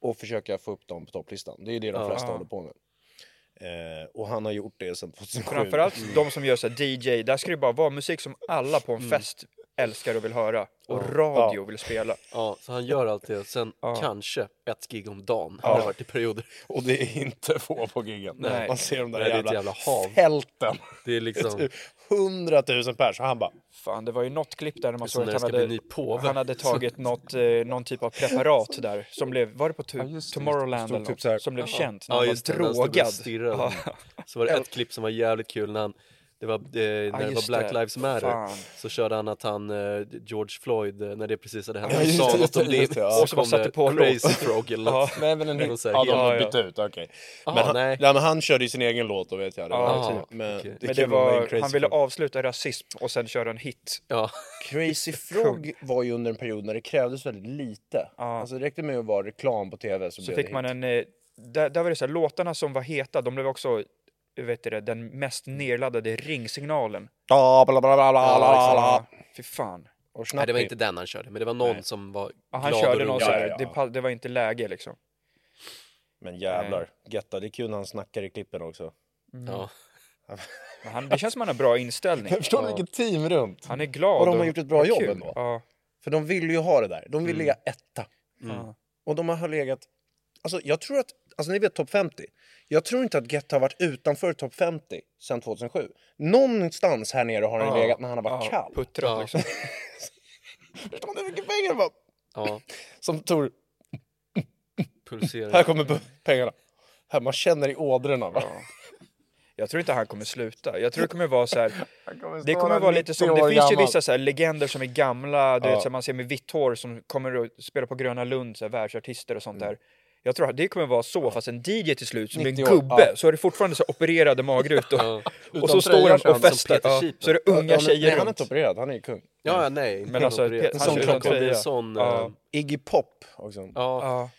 [SPEAKER 1] och försöka få upp dem på topplistan. Det är det de flesta håller på med. Eh, och han har gjort det sedan 2007.
[SPEAKER 4] Framförallt
[SPEAKER 3] Mm.
[SPEAKER 4] de som gör så här DJ, där ska det bara vara musik som alla på en fest älskar och vill höra. Och radio vill spela.
[SPEAKER 3] ja, så han gör allt det. Sen kanske ett gig om dagen. Har det varit i perioder.
[SPEAKER 1] <laughs> Och det är inte få på giggen.
[SPEAKER 3] Nej.
[SPEAKER 1] Man ser de där
[SPEAKER 3] Nej, det är ett
[SPEAKER 1] jävla,
[SPEAKER 3] jävla hav.
[SPEAKER 1] fälten.
[SPEAKER 3] Det är
[SPEAKER 1] <laughs>
[SPEAKER 3] liksom...
[SPEAKER 1] Typ 100 000 pers. Och han bara
[SPEAKER 4] Fan, det var ju något klipp där när man
[SPEAKER 3] som
[SPEAKER 4] såg
[SPEAKER 3] när
[SPEAKER 4] att
[SPEAKER 3] det
[SPEAKER 4] han
[SPEAKER 3] ska bli
[SPEAKER 4] hade,
[SPEAKER 3] ny påve.
[SPEAKER 4] han
[SPEAKER 3] <laughs>
[SPEAKER 4] hade tagit något, eh, någon typ av preparat där som blev, var det på tu- Tomorrowland
[SPEAKER 1] Stod
[SPEAKER 4] eller
[SPEAKER 1] typ
[SPEAKER 4] något,
[SPEAKER 1] så här-
[SPEAKER 4] som blev känt när
[SPEAKER 3] Ja,
[SPEAKER 4] han
[SPEAKER 3] just det.
[SPEAKER 4] var
[SPEAKER 3] när han stod och
[SPEAKER 4] drogad?
[SPEAKER 3] stirrade. Så var det ett klipp som var jävligt kul när han... Det var eh, när
[SPEAKER 4] Ah,
[SPEAKER 3] det var
[SPEAKER 4] just
[SPEAKER 3] Black
[SPEAKER 4] det.
[SPEAKER 3] Lives Matter
[SPEAKER 4] Fan.
[SPEAKER 3] så körde han att han, eh, George Floyd, eh, när det precis hade hänt,
[SPEAKER 1] Ja, just
[SPEAKER 3] sa
[SPEAKER 1] det,
[SPEAKER 3] något om det.
[SPEAKER 1] just det, ja.
[SPEAKER 3] Och så
[SPEAKER 4] Och
[SPEAKER 3] kom
[SPEAKER 4] satte
[SPEAKER 3] det
[SPEAKER 4] på en låt.
[SPEAKER 3] Crazy Frog eller något.
[SPEAKER 1] Nej men en
[SPEAKER 3] Det
[SPEAKER 1] ny...
[SPEAKER 3] var så här
[SPEAKER 1] Ja, de
[SPEAKER 3] helt-
[SPEAKER 1] har
[SPEAKER 4] Ja, ja.
[SPEAKER 1] bytt ut, okej.
[SPEAKER 3] Ah,
[SPEAKER 1] men, han,
[SPEAKER 3] nej.
[SPEAKER 1] nej, men han körde ju sin egen låt, då vet jag. Det
[SPEAKER 4] Ja,
[SPEAKER 1] var-
[SPEAKER 3] typ.
[SPEAKER 1] men
[SPEAKER 3] Okej.
[SPEAKER 4] <laughs> Men
[SPEAKER 1] kul
[SPEAKER 4] det
[SPEAKER 1] om var
[SPEAKER 4] var,
[SPEAKER 1] en Crazy
[SPEAKER 4] han ville
[SPEAKER 1] Frog.
[SPEAKER 4] avsluta rasism och sen köra en hit.
[SPEAKER 3] Ja,
[SPEAKER 1] Crazy Frog var ju under en period när det krävdes väldigt lite.
[SPEAKER 4] Ja.
[SPEAKER 1] Alltså det räckte med att vara reklam på tv så,
[SPEAKER 4] Så
[SPEAKER 1] blev
[SPEAKER 4] fick
[SPEAKER 1] det
[SPEAKER 4] man
[SPEAKER 1] hit.
[SPEAKER 4] en, eh, där, där var det så här, låtarna som var heta, de blev också vet du det, den mest nedladdade ringsignalen.
[SPEAKER 1] Ja, bla, bla, liksom. bla, bla, bla, bla.
[SPEAKER 4] Fy fan.
[SPEAKER 1] Och
[SPEAKER 3] nej, det var
[SPEAKER 1] Snappi.
[SPEAKER 3] inte den han körde, men det var någon som var
[SPEAKER 4] Ja, han
[SPEAKER 3] glad
[SPEAKER 4] körde
[SPEAKER 3] och
[SPEAKER 4] någon
[SPEAKER 3] rolig.
[SPEAKER 4] så här,
[SPEAKER 1] Ja, ja, ja.
[SPEAKER 4] Det, pa- det var inte läge liksom.
[SPEAKER 1] Men jävlar, Getta, det är kul när han snackar i klippen också.
[SPEAKER 3] Ja.
[SPEAKER 4] Men han, det känns som han har bra inställning.
[SPEAKER 1] <laughs> Jag förstår
[SPEAKER 4] Ja.
[SPEAKER 1] vilket team runt.
[SPEAKER 4] Han är glad.
[SPEAKER 1] Och de har gjort ett bra
[SPEAKER 4] och
[SPEAKER 1] jobb
[SPEAKER 4] kul.
[SPEAKER 1] ändå.
[SPEAKER 4] Ja.
[SPEAKER 1] För de ville ju ha det där. De
[SPEAKER 4] Mm.
[SPEAKER 1] ville ligga etta.
[SPEAKER 4] Ja.
[SPEAKER 1] Och de har legat... Alltså jag tror att... Alltså ni vet topp 50. Jag tror inte att Getta har varit utanför topp 50 sedan 2007. Någonstans här nere har han
[SPEAKER 4] Ja.
[SPEAKER 1] legat när han har varit
[SPEAKER 4] Ja,
[SPEAKER 1] kall.
[SPEAKER 4] Puttrat
[SPEAKER 3] Ja.
[SPEAKER 4] liksom.
[SPEAKER 1] Förstår ni hur mycket pengar det var?
[SPEAKER 3] ja,
[SPEAKER 1] Som Tor, här
[SPEAKER 3] pulserade.
[SPEAKER 1] kommer bu- pengarna. Här, man känner i ådrorna. Va?
[SPEAKER 4] Ja. Jag tror inte han kommer sluta. Jag tror det kommer vara
[SPEAKER 1] <laughs>
[SPEAKER 4] så här.
[SPEAKER 1] Kommer
[SPEAKER 4] Det
[SPEAKER 1] stå
[SPEAKER 4] kommer
[SPEAKER 1] där
[SPEAKER 4] vara lite
[SPEAKER 1] 90
[SPEAKER 4] som,
[SPEAKER 1] år
[SPEAKER 4] det finns ju
[SPEAKER 1] gammal.
[SPEAKER 4] vissa så här legender som är gamla, du
[SPEAKER 1] Ja.
[SPEAKER 4] vet, så här, man ser med vitt hår som kommer och spelar på Gröna Lund, så här, världsartister och sånt
[SPEAKER 1] Mm.
[SPEAKER 4] där. Jag tror att det kommer vara så, fast en DJ till slut som är en
[SPEAKER 1] 90 år,
[SPEAKER 4] gubbe,
[SPEAKER 1] ja.
[SPEAKER 4] så är det fortfarande så här,
[SPEAKER 1] <laughs>
[SPEAKER 4] opererade magrutor.
[SPEAKER 3] Ja.
[SPEAKER 4] Och så
[SPEAKER 1] Utan
[SPEAKER 4] står
[SPEAKER 1] tröja
[SPEAKER 4] han
[SPEAKER 1] känns
[SPEAKER 4] och
[SPEAKER 1] som
[SPEAKER 4] festar,
[SPEAKER 3] Peter
[SPEAKER 4] ja,
[SPEAKER 3] Sheep.
[SPEAKER 4] så är det
[SPEAKER 1] Ja,
[SPEAKER 4] unga
[SPEAKER 1] men-
[SPEAKER 4] tjejer
[SPEAKER 1] Nej, han är
[SPEAKER 4] runt.
[SPEAKER 1] inte opererad, han är ju kung.
[SPEAKER 3] Ja, ja, nej, inte
[SPEAKER 4] Men alltså,
[SPEAKER 3] opererad.
[SPEAKER 4] Peter-
[SPEAKER 3] Han
[SPEAKER 1] han
[SPEAKER 3] utan
[SPEAKER 1] körde
[SPEAKER 3] tröja.
[SPEAKER 4] tröja.
[SPEAKER 3] sån,
[SPEAKER 4] Ja.
[SPEAKER 3] eh,
[SPEAKER 1] Iggy Pop också.
[SPEAKER 3] ja.
[SPEAKER 4] Ja.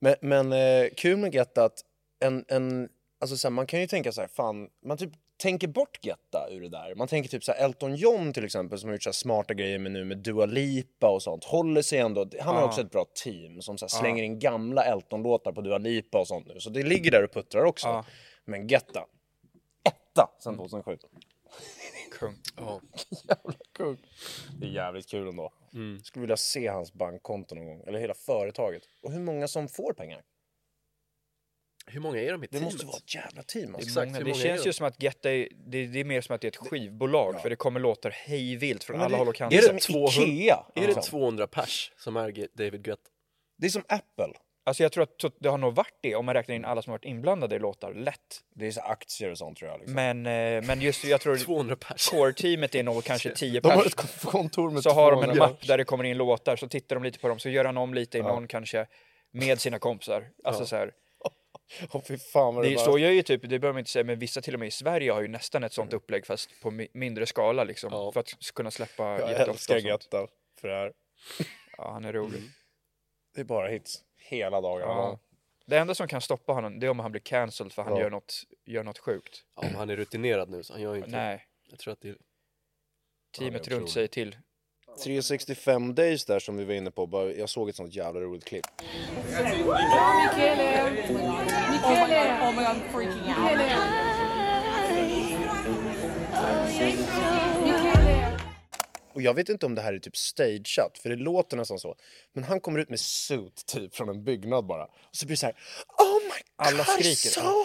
[SPEAKER 1] Men, men eh, kul med Getta att en, en, alltså så här, man kan ju tänka så här, fan, man typ tänker bort Getta ur det där. Man tänker typ så här, Elton John till exempel som har gjort så här smarta grejer med nu med Dua Lipa och sånt. Håller sig ändå, han har
[SPEAKER 4] Ja.
[SPEAKER 1] också ett bra team som så här, slänger in gamla Elton-låtar på Dua Lipa och sånt nu. Så det ligger där och puttrar också.
[SPEAKER 4] Ja. Mm.
[SPEAKER 1] Men Getta, etta sen 2007.
[SPEAKER 4] Kung.
[SPEAKER 3] Ja.
[SPEAKER 1] Kung. Det är jävligt kul ändå.
[SPEAKER 4] Mm.
[SPEAKER 1] Skulle vilja se hans bankkonto någon gång, eller hela företaget. Och hur många som får pengar.
[SPEAKER 3] Hur många är de i
[SPEAKER 1] Det
[SPEAKER 3] teamet?
[SPEAKER 1] måste vara ett jävla team alltså.
[SPEAKER 4] Det, är
[SPEAKER 3] Exakt,
[SPEAKER 4] många.
[SPEAKER 3] hur
[SPEAKER 4] det
[SPEAKER 3] många är
[SPEAKER 4] känns
[SPEAKER 3] de?
[SPEAKER 4] ju som att Get Day, det, det är mer som att det är ett skivbolag, för det kommer låtar hejvilt från
[SPEAKER 1] Men
[SPEAKER 4] alla
[SPEAKER 1] det-
[SPEAKER 4] håll och
[SPEAKER 1] det
[SPEAKER 4] kanter.
[SPEAKER 1] är
[SPEAKER 3] Är
[SPEAKER 1] som
[SPEAKER 3] det 200?
[SPEAKER 1] Ikea.
[SPEAKER 3] Är det
[SPEAKER 4] liksom.
[SPEAKER 1] Alltså.
[SPEAKER 3] 200 pers som är Ge- David Guetta?
[SPEAKER 1] Det är som Apple.
[SPEAKER 4] Alltså jag tror att to- det har nog varit det, om man räknar in alla som har varit inblandade i låtar, lätt.
[SPEAKER 1] Det är så aktier och sånt tror jag. Liksom.
[SPEAKER 4] Men, eh, men just jag tror
[SPEAKER 3] 200 pers.
[SPEAKER 4] core-teamet är
[SPEAKER 1] <laughs>
[SPEAKER 4] nog kanske 10
[SPEAKER 1] De har
[SPEAKER 4] pers.
[SPEAKER 1] ett kon- kontor med
[SPEAKER 4] Så har de en
[SPEAKER 1] 200.
[SPEAKER 4] mapp där det kommer in låtar, så tittar de lite på dem, så gör han om lite i någon kanske, med sina kompisar. Alltså så här.
[SPEAKER 1] Åh fy fan vad det,
[SPEAKER 4] Det,
[SPEAKER 1] bara...
[SPEAKER 4] så gör ju typ, det behöver man inte säga, men vissa till och med i Sverige har ju nästan ett
[SPEAKER 1] Mm.
[SPEAKER 4] sånt upplägg fast på mi- mindre skala liksom.
[SPEAKER 3] Ja.
[SPEAKER 4] För att kunna släppa
[SPEAKER 1] Jag
[SPEAKER 4] jätteofta och
[SPEAKER 1] älskar
[SPEAKER 4] sånt.
[SPEAKER 1] Götta för det här.
[SPEAKER 4] Ja, han är
[SPEAKER 1] Mm.
[SPEAKER 4] rolig.
[SPEAKER 1] Det är bara hits. Hela dagarna
[SPEAKER 4] Ja.
[SPEAKER 1] lång.
[SPEAKER 4] Det enda som kan stoppa honom, det är om han blir cancelled för han
[SPEAKER 1] Ja.
[SPEAKER 4] gör, något, gör något sjukt.
[SPEAKER 3] Ja, men han är rutinerad nu så han gör ju inte
[SPEAKER 1] typ.
[SPEAKER 3] det.
[SPEAKER 4] Nej,
[SPEAKER 3] Jag tror att det är...
[SPEAKER 1] Oh
[SPEAKER 4] teamet
[SPEAKER 3] otrolig.
[SPEAKER 4] runt säger till.
[SPEAKER 1] 365 days där som vi var inne på. Bara, jag såg ett sånt jävla roligt klipp. Och jag vet inte om det här är typ stageat, för det låter nästan så. Men han kommer ut med suit typ från en byggnad bara. Och så blir det så här. Oh my god,
[SPEAKER 4] Alla skriker.
[SPEAKER 1] so hot!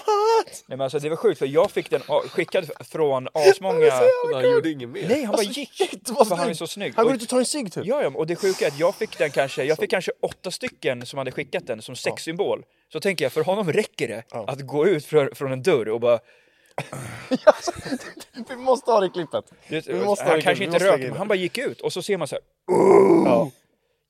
[SPEAKER 4] Nej men alltså det var sjukt för jag fick den a- skickad
[SPEAKER 1] <laughs>
[SPEAKER 4] från asmånga...
[SPEAKER 3] Men han gjorde inget mer.
[SPEAKER 4] Nej han
[SPEAKER 1] Alltså,
[SPEAKER 4] bara gick!
[SPEAKER 1] Det var
[SPEAKER 4] För han är
[SPEAKER 1] snyggt.
[SPEAKER 4] så snygg.
[SPEAKER 1] Han går
[SPEAKER 4] Och-
[SPEAKER 1] ut och tar en cigg typ.
[SPEAKER 4] Ja, ja, och det sjuka är att jag fick den kanske, jag fick kanske åtta stycken som hade skickat den som sexsymbol. Så tänker jag, för honom räcker det att gå ut från, från en dörr och bara...
[SPEAKER 1] Vi måste ha det klippet.
[SPEAKER 4] Du, vet,
[SPEAKER 1] Vi måste ha
[SPEAKER 4] han
[SPEAKER 1] det
[SPEAKER 4] kanske
[SPEAKER 1] klippet.
[SPEAKER 4] inte
[SPEAKER 1] Vi måste
[SPEAKER 4] röker,
[SPEAKER 1] lägga in
[SPEAKER 4] men
[SPEAKER 1] det.
[SPEAKER 4] han bara gick ut och så ser man så här...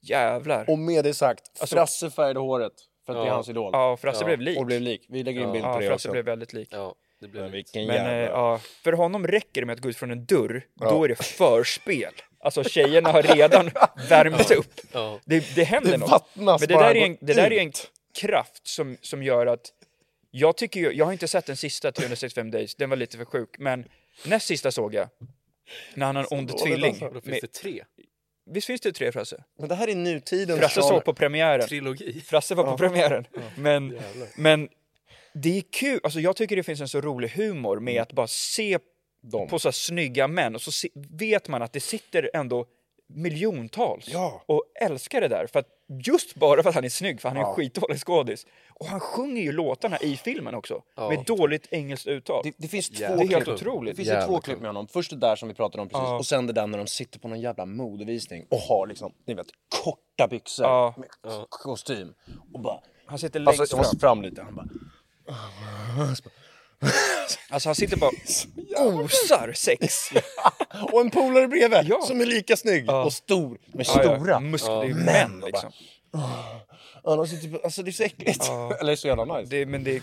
[SPEAKER 4] Jävlar!
[SPEAKER 1] Och med det sagt, Frasse färgade håret. För att det är
[SPEAKER 3] Ja.
[SPEAKER 1] hans idol.
[SPEAKER 4] ja, Frasse blev lik.
[SPEAKER 1] Och blev lik. Vi lägger in bild på
[SPEAKER 4] ja,
[SPEAKER 1] det
[SPEAKER 4] Frasse
[SPEAKER 1] också.
[SPEAKER 4] blev väldigt lik.
[SPEAKER 3] Ja, det
[SPEAKER 1] Men
[SPEAKER 3] blev men,
[SPEAKER 1] vilken
[SPEAKER 4] Men eh,
[SPEAKER 1] jävla...
[SPEAKER 4] ja, för honom räcker det med att gå ut från en dörr, då är det förspel. Alltså tjejerna har redan värmt upp.
[SPEAKER 3] ja.
[SPEAKER 4] Det, det händer
[SPEAKER 1] Det
[SPEAKER 4] något.
[SPEAKER 1] vattnas
[SPEAKER 4] Men det
[SPEAKER 1] bara,
[SPEAKER 4] där, är en,
[SPEAKER 1] går
[SPEAKER 4] det där är en
[SPEAKER 1] ut.
[SPEAKER 4] kraft som, som gör att jag tycker ju, jag har inte sett den sista 365 days, den var lite för sjuk, men näst sista såg jag när han har en ond
[SPEAKER 1] dåligt
[SPEAKER 4] tvilling.
[SPEAKER 1] alltså.
[SPEAKER 3] Då finns
[SPEAKER 4] Med,
[SPEAKER 3] det tre.
[SPEAKER 4] visst finns det tre Frasse?
[SPEAKER 1] Men det här är nutidens
[SPEAKER 4] Frasse
[SPEAKER 1] genre.
[SPEAKER 4] såg på premiären.
[SPEAKER 3] Trilogi.
[SPEAKER 4] Frasse var på premiären. Men, men det är kul, alltså jag tycker det finns en så rolig humor med att bara se
[SPEAKER 1] Mm. Dem.
[SPEAKER 4] på så här snygga män och så se, vet man att det sitter ändå miljontals
[SPEAKER 1] Ja.
[SPEAKER 4] och älskar det där. För att just bara för att han är snygg, för han är en skitdålig skådis. Och han sjunger ju låtarna i filmen också, med dåligt engelskt uttal.
[SPEAKER 1] Det, det finns
[SPEAKER 4] Det
[SPEAKER 1] två
[SPEAKER 4] är helt
[SPEAKER 1] klipp.
[SPEAKER 4] otroligt.
[SPEAKER 1] Det finns ju två klipp med honom. Först det där som vi pratade om precis och sen det där när de sitter på någon jävla modevisning och har liksom, ni vet, korta byxor
[SPEAKER 4] Ja.
[SPEAKER 1] med k- kostym och bara
[SPEAKER 4] Han sitter längst
[SPEAKER 1] Alltså, jag Alltså, måste
[SPEAKER 4] fram.
[SPEAKER 1] fram lite. Han bara...
[SPEAKER 4] Alltså han sitter bara osar sex.
[SPEAKER 1] Och en polare bredvid
[SPEAKER 4] Ja.
[SPEAKER 1] som är lika snygg
[SPEAKER 4] Ja.
[SPEAKER 1] och stor. Men
[SPEAKER 4] Ja, ja.
[SPEAKER 1] stora.
[SPEAKER 4] Muskler, det är ju
[SPEAKER 1] Män,
[SPEAKER 4] män
[SPEAKER 1] och bara-
[SPEAKER 4] liksom.
[SPEAKER 1] Annars är det typ- Alltså det är så äckligt.
[SPEAKER 4] Ja.
[SPEAKER 1] <laughs> Eller så jävla nice.
[SPEAKER 4] Det, men det...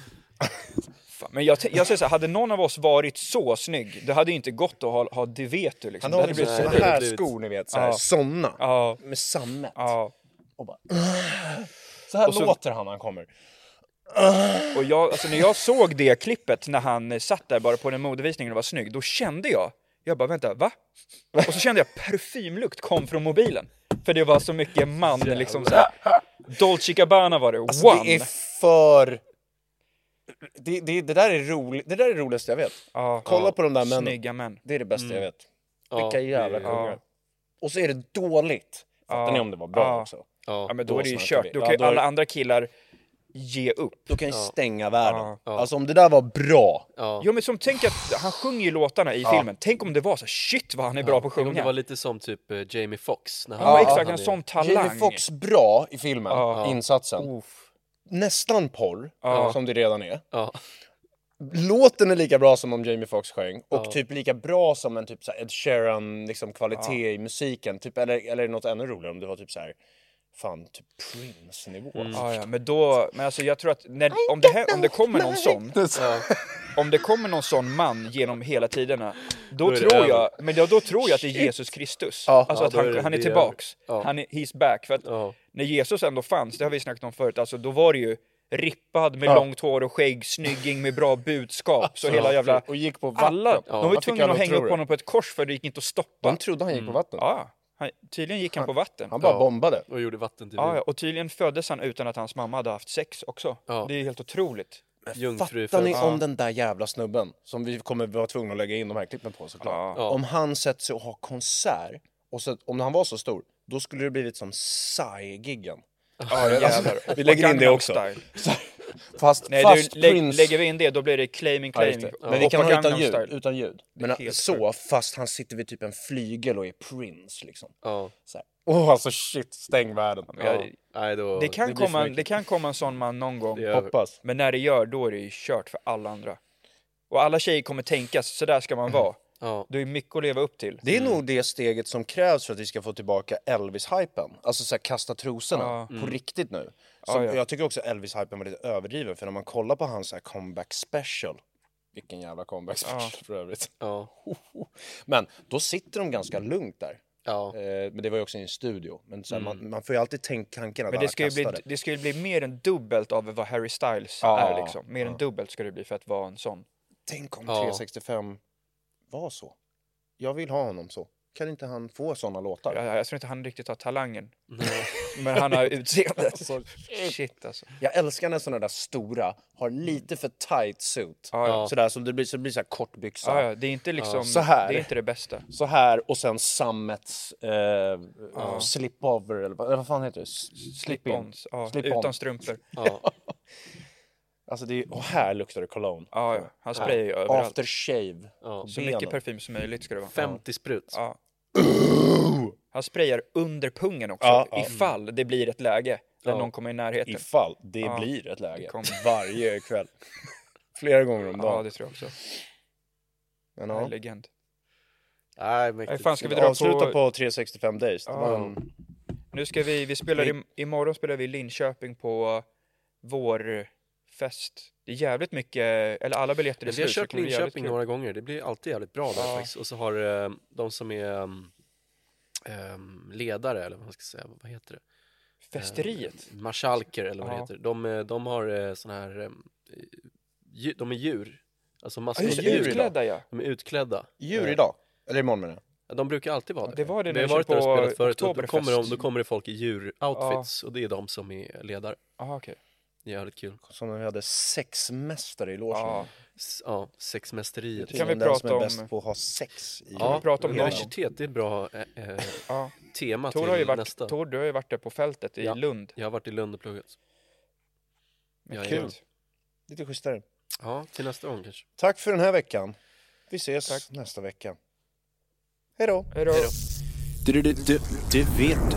[SPEAKER 4] Fan, men jag, t- jag säger så här, hade någon av oss varit så snygg, det hade ju inte gått att ha, ha det vet du
[SPEAKER 1] Han
[SPEAKER 4] liksom. Det
[SPEAKER 1] har
[SPEAKER 4] hade
[SPEAKER 1] blivit
[SPEAKER 4] blivit-
[SPEAKER 1] såna
[SPEAKER 3] det hade
[SPEAKER 1] här
[SPEAKER 3] blivit-
[SPEAKER 1] skor ni vet, så här,
[SPEAKER 4] Ja.
[SPEAKER 1] såna.
[SPEAKER 4] Ja,
[SPEAKER 1] Med sammet.
[SPEAKER 4] ja.
[SPEAKER 1] Och bara... Så här
[SPEAKER 4] Och så-
[SPEAKER 1] låter han när han kommer.
[SPEAKER 4] Och jag, alltså när jag såg det klippet när han eh, satt där bara på den modevisningen och var snygg, då kände jag, jag bara vänta, va? Och så kände jag parfymlukt kom från mobilen. För det var så mycket man liksom så här. Dolce Gabbana var det,
[SPEAKER 1] Alltså,
[SPEAKER 4] one!
[SPEAKER 1] det är för... Det, det, det där är roligt. Det där är det roligaste jag vet.
[SPEAKER 4] Ja,
[SPEAKER 1] Kolla
[SPEAKER 4] ja,
[SPEAKER 1] på de där männen.
[SPEAKER 4] Snygga Mm. män.
[SPEAKER 1] Det är det bästa jag vet. Vilka
[SPEAKER 3] det-
[SPEAKER 1] jävla kungar. Och så är det dåligt. Fattar
[SPEAKER 4] Ja.
[SPEAKER 1] ni om det var bra
[SPEAKER 4] Ja.
[SPEAKER 1] också?
[SPEAKER 3] Ja.
[SPEAKER 4] Ja men då,
[SPEAKER 1] Då
[SPEAKER 4] är det ju
[SPEAKER 1] snackar
[SPEAKER 4] kört,
[SPEAKER 1] vi.
[SPEAKER 4] då
[SPEAKER 1] Ja,
[SPEAKER 4] kan ju
[SPEAKER 1] då är-
[SPEAKER 4] alla andra killar ge upp.
[SPEAKER 1] Då kan ju stänga världen.
[SPEAKER 4] Ja.
[SPEAKER 3] Ja.
[SPEAKER 1] Alltså om det där var bra.
[SPEAKER 3] ja.
[SPEAKER 4] Jo men som tänk att han sjunger ju låtarna i filmen, tänk om det var så här, shit vad han är bra på att
[SPEAKER 3] Tänk om
[SPEAKER 4] sjunga.
[SPEAKER 3] det var lite som typ eh, Jamie Foxx. när han-
[SPEAKER 4] ja,
[SPEAKER 3] han
[SPEAKER 4] exakt,
[SPEAKER 3] är-
[SPEAKER 4] en sån
[SPEAKER 1] Jamie
[SPEAKER 4] talang.
[SPEAKER 1] Foxx bra i filmen,
[SPEAKER 4] Ja.
[SPEAKER 1] insatsen.
[SPEAKER 4] Uff.
[SPEAKER 1] Nästan porr,
[SPEAKER 4] Ja.
[SPEAKER 1] som det redan är.
[SPEAKER 3] Ja.
[SPEAKER 1] Låten är lika bra som om Jamie Foxx sjöng och typ lika bra som en typ så här Ed Sheeran liksom kvalitet i musiken. Typ, eller, eller något ännu roligare om det var typ så här, fan, typ Prince-nivå.
[SPEAKER 4] Ja, ja, men då, men alltså jag tror att när, om, det här, om det kommer någon sån, om det kommer någon sån man genom hela tiderna, då,
[SPEAKER 3] är det
[SPEAKER 4] tror
[SPEAKER 3] över.
[SPEAKER 4] jag, men då, då tror jag att det är Jesus Kristus.
[SPEAKER 1] Ja.
[SPEAKER 4] alltså
[SPEAKER 3] Ja,
[SPEAKER 4] att
[SPEAKER 3] då
[SPEAKER 4] han,
[SPEAKER 3] är det-
[SPEAKER 4] han är
[SPEAKER 3] det är
[SPEAKER 4] tillbaks.
[SPEAKER 3] över. Ja.
[SPEAKER 4] Han är, he's back. För att
[SPEAKER 3] Ja.
[SPEAKER 4] när Jesus ändå fanns, det har vi snackat om förut, alltså då var det ju rippad med långt hår och skägg, snygging med bra budskap. Så hela jävla...
[SPEAKER 1] Och gick på vatten.
[SPEAKER 4] Alla, de var ju
[SPEAKER 1] Vad fick han
[SPEAKER 4] tvungna att
[SPEAKER 1] att
[SPEAKER 4] hänga
[SPEAKER 1] tro
[SPEAKER 4] upp
[SPEAKER 1] det?
[SPEAKER 4] honom på ett kors för det gick inte att stoppa.
[SPEAKER 1] De trodde han gick på vatten.
[SPEAKER 4] Ja, han, tydligen gick han på vatten.
[SPEAKER 1] Han bara
[SPEAKER 3] Ja.
[SPEAKER 1] bombade.
[SPEAKER 3] Och gjorde vatten till
[SPEAKER 1] Mm.
[SPEAKER 4] Ja, ja,
[SPEAKER 3] ja,
[SPEAKER 4] och tydligen föddes han utan att hans mamma hade haft sex också.
[SPEAKER 3] Ja.
[SPEAKER 4] Det är helt otroligt.
[SPEAKER 3] jungfru.
[SPEAKER 1] Fattar ni
[SPEAKER 3] född.
[SPEAKER 1] om den där jävla snubben som vi kommer vara tvungna att lägga in de här klippen på såklart.
[SPEAKER 3] Ja.
[SPEAKER 1] Om han sätter sig och har konsert och så, om han var så stor, då skulle det blivit som Psy-giggen.
[SPEAKER 4] Ja, jävlar.
[SPEAKER 1] alltså, vi lägger in det
[SPEAKER 4] Gangnam
[SPEAKER 1] också.
[SPEAKER 4] Style.
[SPEAKER 1] <laughs> Fast,
[SPEAKER 4] Nej,
[SPEAKER 1] fast
[SPEAKER 4] du, lä
[SPEAKER 1] Prince...
[SPEAKER 4] lägger vi in det då blir det claiming
[SPEAKER 1] Ja, just
[SPEAKER 4] claiming.
[SPEAKER 1] det. Men vi
[SPEAKER 4] Hoppa
[SPEAKER 1] kan ha utan
[SPEAKER 4] Gangnam
[SPEAKER 1] ljud,
[SPEAKER 4] Style.
[SPEAKER 1] utan ljud. Men
[SPEAKER 4] helt
[SPEAKER 1] så, fast han sitter vid typ en flygel och är Prince liksom.
[SPEAKER 3] Ja.
[SPEAKER 1] Så här. Åh, alltså shit, stäng världen.
[SPEAKER 3] Ja. Nej, då,
[SPEAKER 4] Det kan,
[SPEAKER 3] blir för
[SPEAKER 4] komma en,
[SPEAKER 3] mycket.
[SPEAKER 4] det kan komma en sån man någon gång.
[SPEAKER 3] Det är över.
[SPEAKER 1] Hoppas.
[SPEAKER 4] Men när det gör, då är det ju kört för alla andra. Och alla tjejer kommer tänka, så där ska man vara.
[SPEAKER 3] Ja.
[SPEAKER 4] Då är mycket att leva upp till.
[SPEAKER 1] Det är nog det steget som krävs för att vi ska få tillbaka Elvis-hypen. Alltså så här, kasta trosorna
[SPEAKER 4] Ja. Mm.
[SPEAKER 1] på riktigt nu. Som,
[SPEAKER 4] Ja, ja.
[SPEAKER 1] Jag tycker också Elvis-hypen var lite överdriven för när man kollar på hans så här, comeback special. Vilken jävla comeback special för övrigt. <laughs>
[SPEAKER 3] Ja.
[SPEAKER 1] Men då sitter de ganska lugnt där.
[SPEAKER 3] Ja.
[SPEAKER 1] Eh, men det var ju också i en studio. Men så här, man, man får ju alltid tänka tanken att
[SPEAKER 4] Mm. Men
[SPEAKER 1] alla
[SPEAKER 4] det ska, ju bli,
[SPEAKER 1] kastar det.
[SPEAKER 4] det ska ju bli mer än dubbelt av vad Harry Styles
[SPEAKER 1] Ja.
[SPEAKER 4] är liksom. Mer än dubbelt ska det bli för att vara en sån.
[SPEAKER 1] Tänk om
[SPEAKER 3] Ja.
[SPEAKER 1] 365 var så. Jag vill ha honom så. Kan inte han få såna låtar?
[SPEAKER 4] Jag, jag tror inte han riktigt har talangen. <laughs> Men han har utseendet. Shit alltså.
[SPEAKER 1] Jag älskar när såna där stora har lite för tight suit.
[SPEAKER 4] Ja, ja.
[SPEAKER 1] Sådär som det blir, så det blir så här kortbyxa.
[SPEAKER 4] Ja, ja, det är inte liksom,
[SPEAKER 1] Så här.
[SPEAKER 4] det är inte det bästa.
[SPEAKER 1] Så här och sen sammets eh, slipover eller vad, eller vad fan heter det? S- Slip-in.
[SPEAKER 4] Slip-ons, ja,
[SPEAKER 1] Slip-on.
[SPEAKER 4] utan
[SPEAKER 1] <laughs>
[SPEAKER 4] strumpor.
[SPEAKER 3] Ja.
[SPEAKER 1] Alltså det är, och här luktar det cologne.
[SPEAKER 4] Ja, ja, han sprayar ju överallt.
[SPEAKER 1] After shave.
[SPEAKER 3] Ja.
[SPEAKER 4] Så mycket parfym som möjligt ska det vara.
[SPEAKER 3] 50 sprut.
[SPEAKER 4] Ja. Han sprayar under pungen också,
[SPEAKER 1] Ja, ja.
[SPEAKER 4] ifall det blir ett läge där någon kommer i närheten.
[SPEAKER 1] Ifall det
[SPEAKER 4] Ja,
[SPEAKER 1] blir ett läge.
[SPEAKER 4] det kommer.
[SPEAKER 1] Varje kväll. <laughs> Flera gånger om
[SPEAKER 4] Ja,
[SPEAKER 1] dagen.
[SPEAKER 4] det tror jag också.
[SPEAKER 1] Men,
[SPEAKER 4] Ja.
[SPEAKER 1] ja.
[SPEAKER 4] Legend.
[SPEAKER 3] Nej,
[SPEAKER 4] Nej,
[SPEAKER 3] mäktigt.
[SPEAKER 4] fan, ska vi dra
[SPEAKER 1] Avsluta
[SPEAKER 4] på...
[SPEAKER 1] på 365 days. Det var en...
[SPEAKER 4] Nu ska vi, vi spelar i, imorgon spelar vi i Linköping på vår fest. Det är jävligt mycket, eller alla biljetter är
[SPEAKER 3] Men vi har
[SPEAKER 4] slut. så det
[SPEAKER 3] kört
[SPEAKER 4] kommer bli jävligt
[SPEAKER 3] Linköping
[SPEAKER 4] kul.
[SPEAKER 3] några gånger, det blir alltid jävligt bra där
[SPEAKER 4] Ja.
[SPEAKER 3] faktiskt. Och så har eh, de som är ehm, ehm, ledare, eller vad man ska säga, vad heter det?
[SPEAKER 4] Festeriet.
[SPEAKER 3] Eh, Marskalker eller vad det
[SPEAKER 4] Ja.
[SPEAKER 3] heter. De, eh, de har eh, såna här, ehm, dju- de är djur. Alltså
[SPEAKER 4] Ja,
[SPEAKER 3] massor av
[SPEAKER 4] just det,
[SPEAKER 3] djur.
[SPEAKER 4] utklädda ja.
[SPEAKER 3] De är utklädda.
[SPEAKER 1] Djur
[SPEAKER 3] Eh,
[SPEAKER 1] idag. Eller imorgon menar jag.
[SPEAKER 3] De brukar alltid vara där.
[SPEAKER 4] Det var det
[SPEAKER 3] Vi
[SPEAKER 4] när
[SPEAKER 3] har
[SPEAKER 4] vi
[SPEAKER 3] varit
[SPEAKER 4] kör
[SPEAKER 3] där och
[SPEAKER 4] på
[SPEAKER 3] spelat förut och då
[SPEAKER 4] Oktoberfest.
[SPEAKER 3] kommer, de, då kommer det folk i djuroutfits och det är de som är ledare.
[SPEAKER 4] Aha, okej.
[SPEAKER 3] Det är jävligt kul.
[SPEAKER 1] Som när vi hade sexmästare i logen.
[SPEAKER 4] Ja.
[SPEAKER 3] S- ja, sexmästeriet.
[SPEAKER 4] Kan
[SPEAKER 1] Som
[SPEAKER 4] vi
[SPEAKER 1] den
[SPEAKER 4] prata
[SPEAKER 1] som är
[SPEAKER 4] om-
[SPEAKER 1] bäst på att ha sex i
[SPEAKER 3] Ja,
[SPEAKER 4] vi prata om någon-
[SPEAKER 3] universitet, det är ett bra eh, <laughs> eh,
[SPEAKER 4] Ja.
[SPEAKER 3] tema
[SPEAKER 4] Tor
[SPEAKER 3] till
[SPEAKER 4] har ju varit,
[SPEAKER 3] nästa.
[SPEAKER 4] Tor, du har ju varit där på fältet i
[SPEAKER 3] Ja.
[SPEAKER 4] Lund.
[SPEAKER 3] Jag har varit i Lund och pluggat.
[SPEAKER 4] Men
[SPEAKER 3] Ja,
[SPEAKER 4] kul.
[SPEAKER 3] ja.
[SPEAKER 1] Lite schysstare.
[SPEAKER 3] Ja, till nästa gång kanske.
[SPEAKER 1] Tack för den här veckan. Vi ses
[SPEAKER 4] Tack.
[SPEAKER 1] nästa vecka. Hej då!
[SPEAKER 4] Hej då.
[SPEAKER 2] Det, det, det, det, det vet du.